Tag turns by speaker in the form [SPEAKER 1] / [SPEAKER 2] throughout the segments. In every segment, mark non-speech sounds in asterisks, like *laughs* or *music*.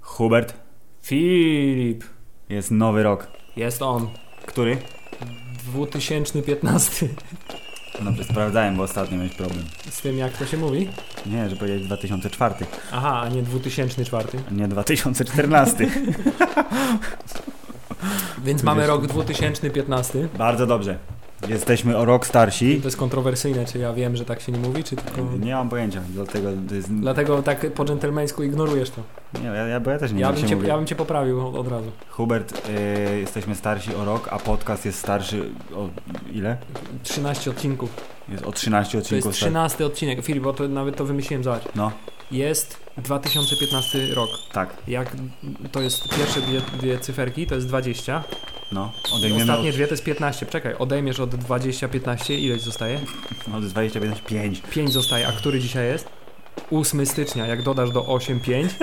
[SPEAKER 1] Hubert,
[SPEAKER 2] Filip,
[SPEAKER 1] jest nowy rok.
[SPEAKER 2] jest on.
[SPEAKER 1] Który?
[SPEAKER 2] 2015.
[SPEAKER 1] Dobrze, No, sprawdzałem, bo ostatnio miałeś problem.
[SPEAKER 2] Z tym jak to się mówi?
[SPEAKER 1] Nie, że powiedziałeś 2004,
[SPEAKER 2] Aha, a nie 2004.
[SPEAKER 1] a nie 2014.
[SPEAKER 2] *laughs* Więc mamy rok 2015.
[SPEAKER 1] Bardzo dobrze. Jesteśmy o rok starsi.
[SPEAKER 2] To jest kontrowersyjne, czy ja wiem, że tak się nie mówi, czy tylko...
[SPEAKER 1] Nie mam pojęcia, dlatego to jest...
[SPEAKER 2] Dlatego tak po dżentelmeńsku ignorujesz to.
[SPEAKER 1] Nie, ja, ja, bo ja też nie
[SPEAKER 2] Ja
[SPEAKER 1] wiem,
[SPEAKER 2] bym,
[SPEAKER 1] jak się
[SPEAKER 2] cię,
[SPEAKER 1] mówi.
[SPEAKER 2] ja bym cię poprawił od- od razu.
[SPEAKER 1] Hubert, y, jesteśmy starsi o rok, a podcast jest starszy o ile?
[SPEAKER 2] 13 odcinków.
[SPEAKER 1] Jest o 13
[SPEAKER 2] To jest
[SPEAKER 1] odcinków. star-
[SPEAKER 2] 13 odcinek. Filip, bo to, nawet to wymyśliłem, zobacz.
[SPEAKER 1] No,
[SPEAKER 2] Jest 2015 rok.
[SPEAKER 1] tak,
[SPEAKER 2] Jak to jest pierwsze dwie, dwie cyferki, to jest 20.
[SPEAKER 1] no.
[SPEAKER 2] I
[SPEAKER 1] Odejmiemy
[SPEAKER 2] ostatnie dwie to jest 15. Czekaj, odejmiesz od 20, 15, ileś zostaje?
[SPEAKER 1] od, od 25, 5.
[SPEAKER 2] 5 zostaje, a który dzisiaj jest? 8 stycznia, jak dodasz do 8, 5,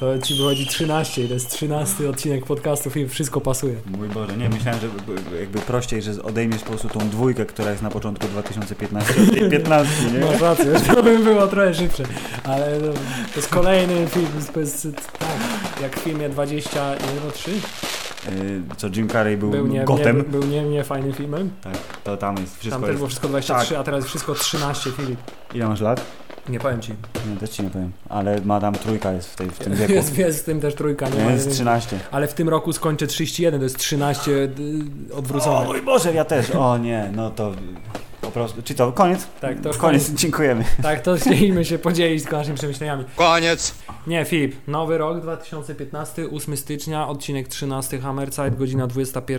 [SPEAKER 2] to ci wychodzi 13 i to jest 13 odcinek podcastów i wszystko pasuje.
[SPEAKER 1] Mój Boże, nie, myślałem, że b- jakby prościej, że odejmiesz po prostu tą dwójkę, która jest na początku 2015 od tej 15, nie?
[SPEAKER 2] Masz rację, *laughs* to by było trochę szybsze, ale no, to jest kolejny film, to jest, tak, jak w filmie 20, nie, no 3,
[SPEAKER 1] Y, Co Jim Carrey był,
[SPEAKER 2] był nie,
[SPEAKER 1] gotem,
[SPEAKER 2] nie, był nie, nie fajnym filmem,
[SPEAKER 1] to tam jest wszystko
[SPEAKER 2] tam też
[SPEAKER 1] jest. tak.
[SPEAKER 2] było wszystko 23, a teraz wszystko 13, Filip,
[SPEAKER 1] Ile masz lat?
[SPEAKER 2] nie powiem ci,
[SPEAKER 1] Nie, też ci nie powiem, ale ma tam trójka jest w, tej,
[SPEAKER 2] *laughs*
[SPEAKER 1] w tym wieku.
[SPEAKER 2] jest, jest w tym też trójka, nie ma
[SPEAKER 1] Jest
[SPEAKER 2] jedynki.
[SPEAKER 1] 13.
[SPEAKER 2] Ale w tym roku skończę 31, to jest 13 y,
[SPEAKER 1] O
[SPEAKER 2] odwrócone.
[SPEAKER 1] mój Boże, ja też. O nie, no to po prostu. Czy to koniec?
[SPEAKER 2] Tak, to już
[SPEAKER 1] koniec. Dziękujemy.
[SPEAKER 2] Tak, to chcieliśmy się podzielić z naszymi przemyśleniami.
[SPEAKER 3] Koniec.
[SPEAKER 2] Nie, Filip, nowy rok 2015, 8 stycznia, odcinek 13 Hammerside, godzina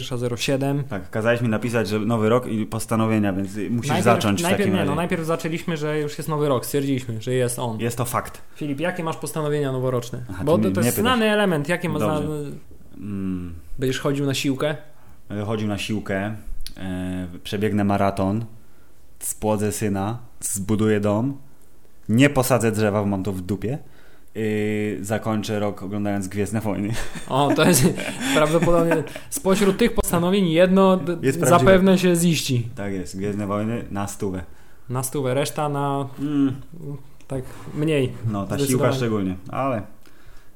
[SPEAKER 2] 21.07.
[SPEAKER 1] Tak, kazałeś mi napisać, że nowy rok i postanowienia, więc musisz zacząć w
[SPEAKER 2] najpierw
[SPEAKER 1] takim
[SPEAKER 2] nie,
[SPEAKER 1] razie.
[SPEAKER 2] no najpierw zaczęliśmy, że już jest nowy rok, stwierdziliśmy, że jest on.
[SPEAKER 1] Jest to fakt.
[SPEAKER 2] Filip, jakie masz postanowienia noworoczne?
[SPEAKER 1] Aha,
[SPEAKER 2] Bo
[SPEAKER 1] ty
[SPEAKER 2] to,
[SPEAKER 1] mnie-
[SPEAKER 2] to
[SPEAKER 1] mnie
[SPEAKER 2] jest
[SPEAKER 1] pytasz.
[SPEAKER 2] znany element, jakie masz
[SPEAKER 1] Dobrze.
[SPEAKER 2] znane-
[SPEAKER 1] Mm.
[SPEAKER 2] Będziesz chodził na siłkę?
[SPEAKER 1] Chodził na siłkę, e, przebiegnę maraton, spłodzę syna, zbuduję dom, nie posadzę drzewa, bo mam to w dupie. Yy, zakończę rok oglądając Gwiezdne Wojny. *laughs*
[SPEAKER 2] O, to jest *laughs* prawdopodobnie spośród tych postanowień jedno d-
[SPEAKER 1] Jest prawdziwe.
[SPEAKER 2] zapewne się ziści.
[SPEAKER 1] Tak jest, Gwiezdne Wojny na stówę.
[SPEAKER 2] Na stówę, reszta na
[SPEAKER 1] Mm,
[SPEAKER 2] tak mniej.
[SPEAKER 1] no, ta
[SPEAKER 2] Zdecydowanie.
[SPEAKER 1] siłka szczególnie, ale...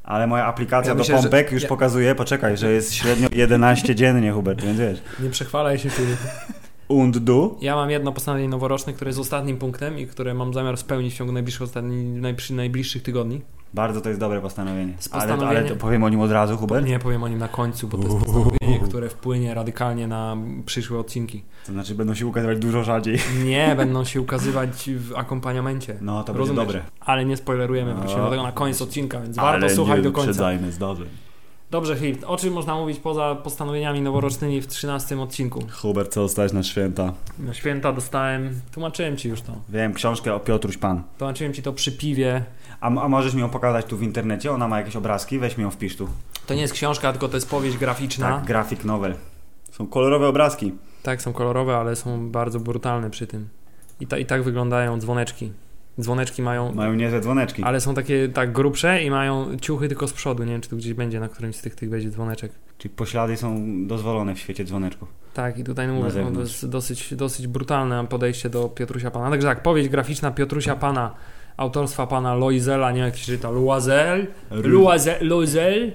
[SPEAKER 1] Ale moja aplikacja
[SPEAKER 2] Ja
[SPEAKER 1] do
[SPEAKER 2] myślę, że-
[SPEAKER 1] pompek już
[SPEAKER 2] ja-
[SPEAKER 1] pokazuje, poczekaj, że jest średnio 11 dziennie, Hubert, więc wiesz.
[SPEAKER 2] Nie przechwalaj się Filip.
[SPEAKER 1] Und du?
[SPEAKER 2] Ja mam jedno postanowienie noworoczne, które jest ostatnim punktem i które mam zamiar spełnić w ciągu najbliższych, ostatni, najbliższych, najbliższych tygodni.
[SPEAKER 1] Bardzo to jest dobre postanowienie.
[SPEAKER 2] Z
[SPEAKER 1] Ale, ale
[SPEAKER 2] postanowieniem-
[SPEAKER 1] to powiem o nim od razu, Hubert?
[SPEAKER 2] Nie powiem o nim na końcu, bo to jest postanowienie, które wpłynie radykalnie na przyszłe odcinki.
[SPEAKER 1] To znaczy będą się ukazywać dużo rzadziej.
[SPEAKER 2] Nie *laughs* będą się ukazywać w akompaniamencie.
[SPEAKER 1] No, to
[SPEAKER 2] Rozumiesz?
[SPEAKER 1] będzie dobre.
[SPEAKER 2] Ale nie spoilerujemy, wrócimy
[SPEAKER 1] No.
[SPEAKER 2] do tego na koniec odcinka, więc
[SPEAKER 1] Ale
[SPEAKER 2] warto słuchać
[SPEAKER 1] nie
[SPEAKER 2] do końca.
[SPEAKER 1] Uprzedzajmy zdarzeń.
[SPEAKER 2] Dobrze, Filip, o czym można mówić poza postanowieniami noworocznymi w 13 odcinku?
[SPEAKER 1] Hubert, co dostałeś na święta?
[SPEAKER 2] Na święta dostałem, tłumaczyłem ci już to.
[SPEAKER 1] Wiem, książkę o Piotruś Pan.
[SPEAKER 2] Tłumaczyłem ci to przy piwie.
[SPEAKER 1] A, a możesz mi ją pokazać tu w internecie? Ona ma jakieś obrazki? Weź mi ją wpisz tu.
[SPEAKER 2] To nie jest książka, tylko to jest powieść graficzna.
[SPEAKER 1] Tak, grafik novel. Są kolorowe obrazki.
[SPEAKER 2] Tak, są kolorowe, ale są bardzo brutalne przy tym. I, ta, i tak wyglądają dzwoneczki. Dzwoneczki mają,
[SPEAKER 1] Mają niezłe dzwoneczki.
[SPEAKER 2] ale są takie tak grubsze i mają ciuchy tylko z przodu. Nie wiem, czy tu gdzieś będzie na którymś z tych, tych będzie dzwoneczek.
[SPEAKER 1] Czyli poślady są dozwolone w świecie dzwoneczków.
[SPEAKER 2] Tak, i tutaj no,
[SPEAKER 1] Na
[SPEAKER 2] mówię, no, to
[SPEAKER 1] zewnątrz.
[SPEAKER 2] jest dosyć, dosyć brutalne podejście do Piotrusia Pana. Także tak, powieść graficzna Piotrusia Pana, autorstwa pana Loizela, nie wiem jak się czyta, Loizel, Loizel, Loizel,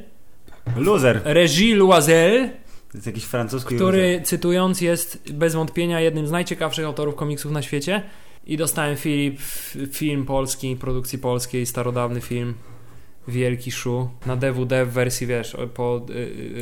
[SPEAKER 1] Loser.
[SPEAKER 2] Regie Loizel,
[SPEAKER 1] To jest jakiś francuski
[SPEAKER 2] który cytując jest bez wątpienia jednym z najciekawszych autorów komiksów na świecie. I dostałem Filip, f- film polski, produkcji polskiej, starodawny film Wielki Szu na DVD w wersji, wiesz, o- po y,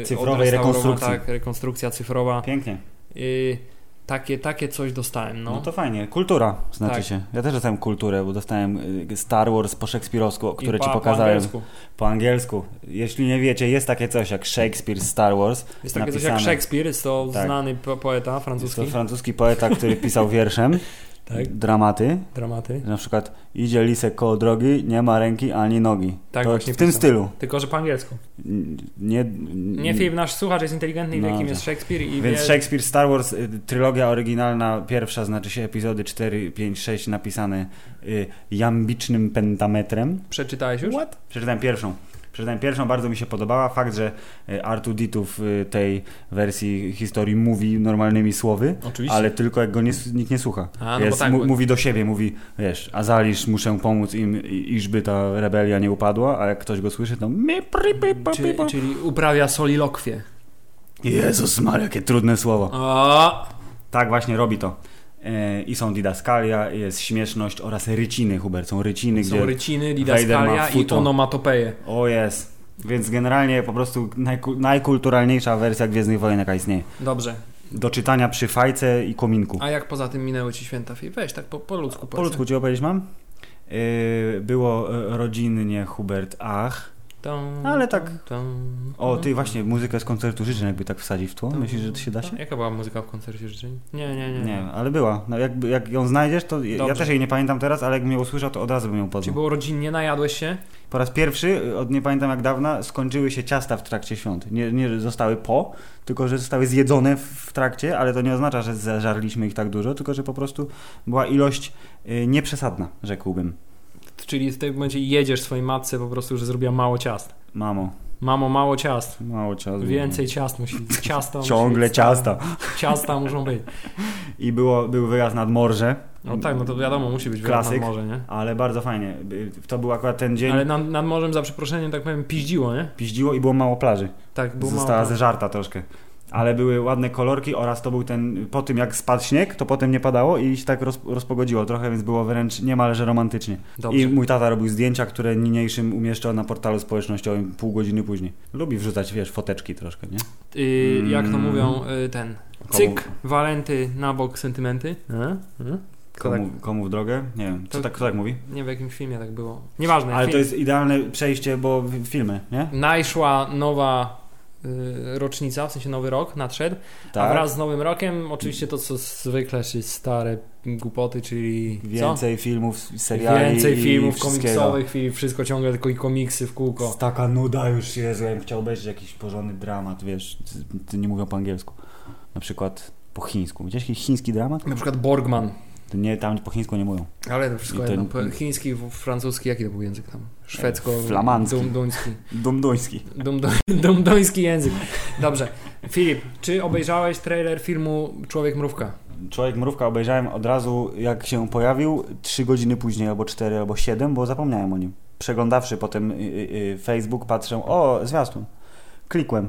[SPEAKER 2] y,
[SPEAKER 1] Cyfrowej
[SPEAKER 2] odrestaurowa-
[SPEAKER 1] rekonstrukcji.
[SPEAKER 2] Tak, rekonstrukcja cyfrowa.
[SPEAKER 1] Pięknie.
[SPEAKER 2] Y, takie, takie coś dostałem,
[SPEAKER 1] No.
[SPEAKER 2] no.
[SPEAKER 1] to fajnie. Kultura znaczy
[SPEAKER 2] Tak.
[SPEAKER 1] się. Ja też dostałem kulturę, bo dostałem y, Star Wars po szekspirowsku, które
[SPEAKER 2] I
[SPEAKER 1] ci
[SPEAKER 2] po- po
[SPEAKER 1] pokazałem
[SPEAKER 2] angielsku.
[SPEAKER 1] po angielsku. Jeśli nie wiecie, jest takie coś jak Shakespeare Star Wars.
[SPEAKER 2] Jest takie coś
[SPEAKER 1] napisane.
[SPEAKER 2] jak Szekspir, jest to
[SPEAKER 1] Tak.
[SPEAKER 2] znany po poeta
[SPEAKER 1] Jest
[SPEAKER 2] francuski.
[SPEAKER 1] to francuski poeta, który pisał wierszem.
[SPEAKER 2] Tak,
[SPEAKER 1] dramaty.
[SPEAKER 2] dramaty.
[SPEAKER 1] Na przykład idzie lisek koło drogi, nie ma ręki ani nogi.
[SPEAKER 2] Tak
[SPEAKER 1] to
[SPEAKER 2] właśnie
[SPEAKER 1] w tym
[SPEAKER 2] pisał.
[SPEAKER 1] stylu.
[SPEAKER 2] Tylko, że po angielsku.
[SPEAKER 1] N- Nie, n-
[SPEAKER 2] Nie, Filip, nasz słuchacz jest inteligentny i wie,
[SPEAKER 1] Mm. No,
[SPEAKER 2] kim
[SPEAKER 1] tak.
[SPEAKER 2] jest Szekspir i
[SPEAKER 1] Więc
[SPEAKER 2] wie...
[SPEAKER 1] Shakespeare, Star Wars, y, trylogia oryginalna, pierwsza, znaczy się epizody 4, 5, 6 napisane y, jambicznym pentametrem.
[SPEAKER 2] Przeczytałeś już?
[SPEAKER 1] What? Przeczytałem pierwszą. Przeczytałem pierwszą, bardzo mi się podobała. Fakt, że y, R2D2 w y, tej wersji historii mówi normalnymi słowy,
[SPEAKER 2] Oczywiście.
[SPEAKER 1] ale tylko jak go nie, nikt nie słucha.
[SPEAKER 2] A, no
[SPEAKER 1] Jest,
[SPEAKER 2] bo tak,
[SPEAKER 1] mu-
[SPEAKER 2] bo-
[SPEAKER 1] Mówi do siebie, mówi, wiesz, Azalisz, muszę pomóc im, i- iżby ta rebelia nie upadła, a jak ktoś go słyszy, to my pri, pi, pa, pi,
[SPEAKER 2] Czyli,
[SPEAKER 1] pa.
[SPEAKER 2] czyli uprawia solilokwie.
[SPEAKER 1] Jezus Maria, jakie trudne słowo.
[SPEAKER 2] O,
[SPEAKER 1] Tak właśnie robi to. E, I są didaskalia, i jest śmieszność oraz ryciny, Hubert. Są ryciny,
[SPEAKER 2] są
[SPEAKER 1] gdzie...
[SPEAKER 2] ryciny,
[SPEAKER 1] Vader
[SPEAKER 2] didaskalia
[SPEAKER 1] ma
[SPEAKER 2] i
[SPEAKER 1] futo.
[SPEAKER 2] onomatopeje.
[SPEAKER 1] O jest. Więc generalnie po prostu najku- najkulturalniejsza wersja Gwiezdnych Wojen, jaka istnieje.
[SPEAKER 2] Dobrze.
[SPEAKER 1] Do czytania przy fajce i kominku.
[SPEAKER 2] A jak poza tym minęły ci święta? Filip? Weź tak po, po ludzku.
[SPEAKER 1] Po ludzku ci opowiedzieć mam? Yy, było e, rodzinnie Hubert Ach.
[SPEAKER 2] Tam,
[SPEAKER 1] Ale tak-
[SPEAKER 2] tam,
[SPEAKER 1] O,
[SPEAKER 2] tam.
[SPEAKER 1] ty właśnie muzykę z koncertu życzeń jakby tak wsadzić w tło. Myślisz, że to się da się?
[SPEAKER 2] Jaka była muzyka w koncercie życzeń? Nie, Tak. nie, nie.
[SPEAKER 1] Nie, ale była. No, jak, jak ją znajdziesz, to ja- ja
[SPEAKER 2] Dobrze.
[SPEAKER 1] też jej nie pamiętam teraz, ale jak mnie usłyszał, to od razu bym ją
[SPEAKER 2] Czy
[SPEAKER 1] poznał.
[SPEAKER 2] było rodzinnie, najadłeś się?
[SPEAKER 1] Po raz pierwszy, y, od nie pamiętam jak dawna, skończyły się ciasta w trakcie świąt. Nie, nie że zostały po, tylko że zostały zjedzone w, w trakcie, ale to nie oznacza, że zażarliśmy ich tak dużo, tylko że po prostu była ilość y, nieprzesadna, rzekłbym.
[SPEAKER 2] Czyli w tym momencie jedziesz swojej matce po prostu, że zrobiła mało ciast.
[SPEAKER 1] Mamo,
[SPEAKER 2] Mamo, mało ciast.
[SPEAKER 1] mało ciasta.
[SPEAKER 2] Więcej ciast musi ciasta musi
[SPEAKER 1] Ciągle
[SPEAKER 2] być stale.
[SPEAKER 1] ciasta.
[SPEAKER 2] Ciasta muszą być.
[SPEAKER 1] I było, był wyraz nad morze,
[SPEAKER 2] No tak, no to wiadomo, musi być wyraz nad
[SPEAKER 1] Klasyk.
[SPEAKER 2] morze, nie?
[SPEAKER 1] ale bardzo fajnie. Y, To był akurat ten dzień,
[SPEAKER 2] Ale nad, nad morzem, za przeproszeniem, tak powiem, piździło, nie?
[SPEAKER 1] piździło i było mało plaży.
[SPEAKER 2] Tak, było
[SPEAKER 1] Została
[SPEAKER 2] mało...
[SPEAKER 1] zeżarta troszkę. Ale były ładne kolorki oraz to był ten, po tym jak spadł śnieg, to potem nie padało i się tak roz, rozpogodziło trochę, więc było wręcz niemalże romantycznie.
[SPEAKER 2] Dobrze.
[SPEAKER 1] I mój tata robił zdjęcia, które niniejszym umieszczał na portalu społecznościowym pół godziny później. Lubi wrzucać, wiesz, foteczki troszkę, nie?
[SPEAKER 2] Y, jak to
[SPEAKER 1] Mm.
[SPEAKER 2] mówią, y, ten... Cyk, walenty na bok, sentymenty. To
[SPEAKER 1] E?
[SPEAKER 2] tak.
[SPEAKER 1] Komu, komu w drogę? Nie wiem, co
[SPEAKER 2] To-
[SPEAKER 1] tak, kto tak mówi?
[SPEAKER 2] Nie wiem, w jakim filmie tak było. Nieważne.
[SPEAKER 1] Ale
[SPEAKER 2] film-
[SPEAKER 1] to jest idealne przejście, bo w- filmy, nie?
[SPEAKER 2] Najszła nowa y, rocznica, w sensie nowy rok nadszedł,
[SPEAKER 1] Tak.
[SPEAKER 2] a wraz z nowym rokiem oczywiście to, co zwykle, czyli stare głupoty, czyli co?
[SPEAKER 1] Więcej filmów, seriali
[SPEAKER 2] Więcej
[SPEAKER 1] i
[SPEAKER 2] filmów
[SPEAKER 1] wszystkiego.
[SPEAKER 2] komiksowych i wszystko ciągle tylko i komiksy w kółko.
[SPEAKER 1] Taka nuda już jest, ja bym chciał obejrzeć jakiś porządny dramat, wiesz, ty- ty nie mówią po angielsku. Na przykład po chińsku. Widziałeś jakiś chiński dramat?
[SPEAKER 2] Na przykład Borgman,
[SPEAKER 1] To nie, tam po chińsku nie mówią.
[SPEAKER 2] ale to wszystko
[SPEAKER 1] I to-
[SPEAKER 2] jedno. po- Chiński, w- francuski, jaki to był język tam? Szwedzko,
[SPEAKER 1] E, flamandzki.
[SPEAKER 2] dumduński.
[SPEAKER 1] Dumduński.
[SPEAKER 2] Dum, dum, *laughs* dumduński język. Dobrze. Filip, czy obejrzałeś trailer filmu Człowiek Mrówka?
[SPEAKER 1] Człowiek Mrówka obejrzałem od razu, jak się pojawił, trzy godziny później, albo cztery, albo siedem, bo zapomniałem o nim. Przeglądawszy potem y, y, y, Facebook, patrzę, o, zwiastun. Klikłem.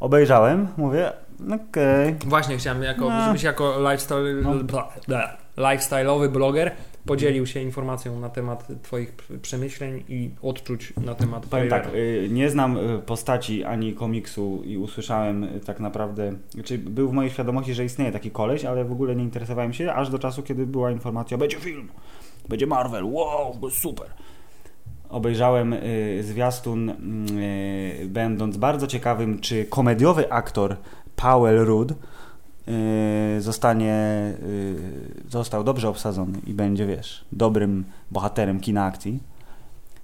[SPEAKER 1] Obejrzałem, mówię, okej.
[SPEAKER 2] Właśnie chciałem, jako,
[SPEAKER 1] No.
[SPEAKER 2] żebyś jako lifestyle,
[SPEAKER 1] No.
[SPEAKER 2] bla, bla, lifestyle'owy bloger podzielił się informacją na temat Twoich p- przemyśleń i odczuć na temat
[SPEAKER 1] Powiem tak,
[SPEAKER 2] trailera.
[SPEAKER 1] y, nie znam y, postaci ani komiksu i usłyszałem y, tak naprawdę, czy był w mojej świadomości, że istnieje taki koleś, ale w ogóle nie interesowałem się, aż do czasu, kiedy była informacja, będzie film, będzie Marvel, wow, bo super. Obejrzałem y, zwiastun, y, będąc bardzo ciekawym, czy komediowy aktor Powell Rudd y, zostanie, y, został dobrze obsadzony i będzie, wiesz, dobrym bohaterem kina akcji.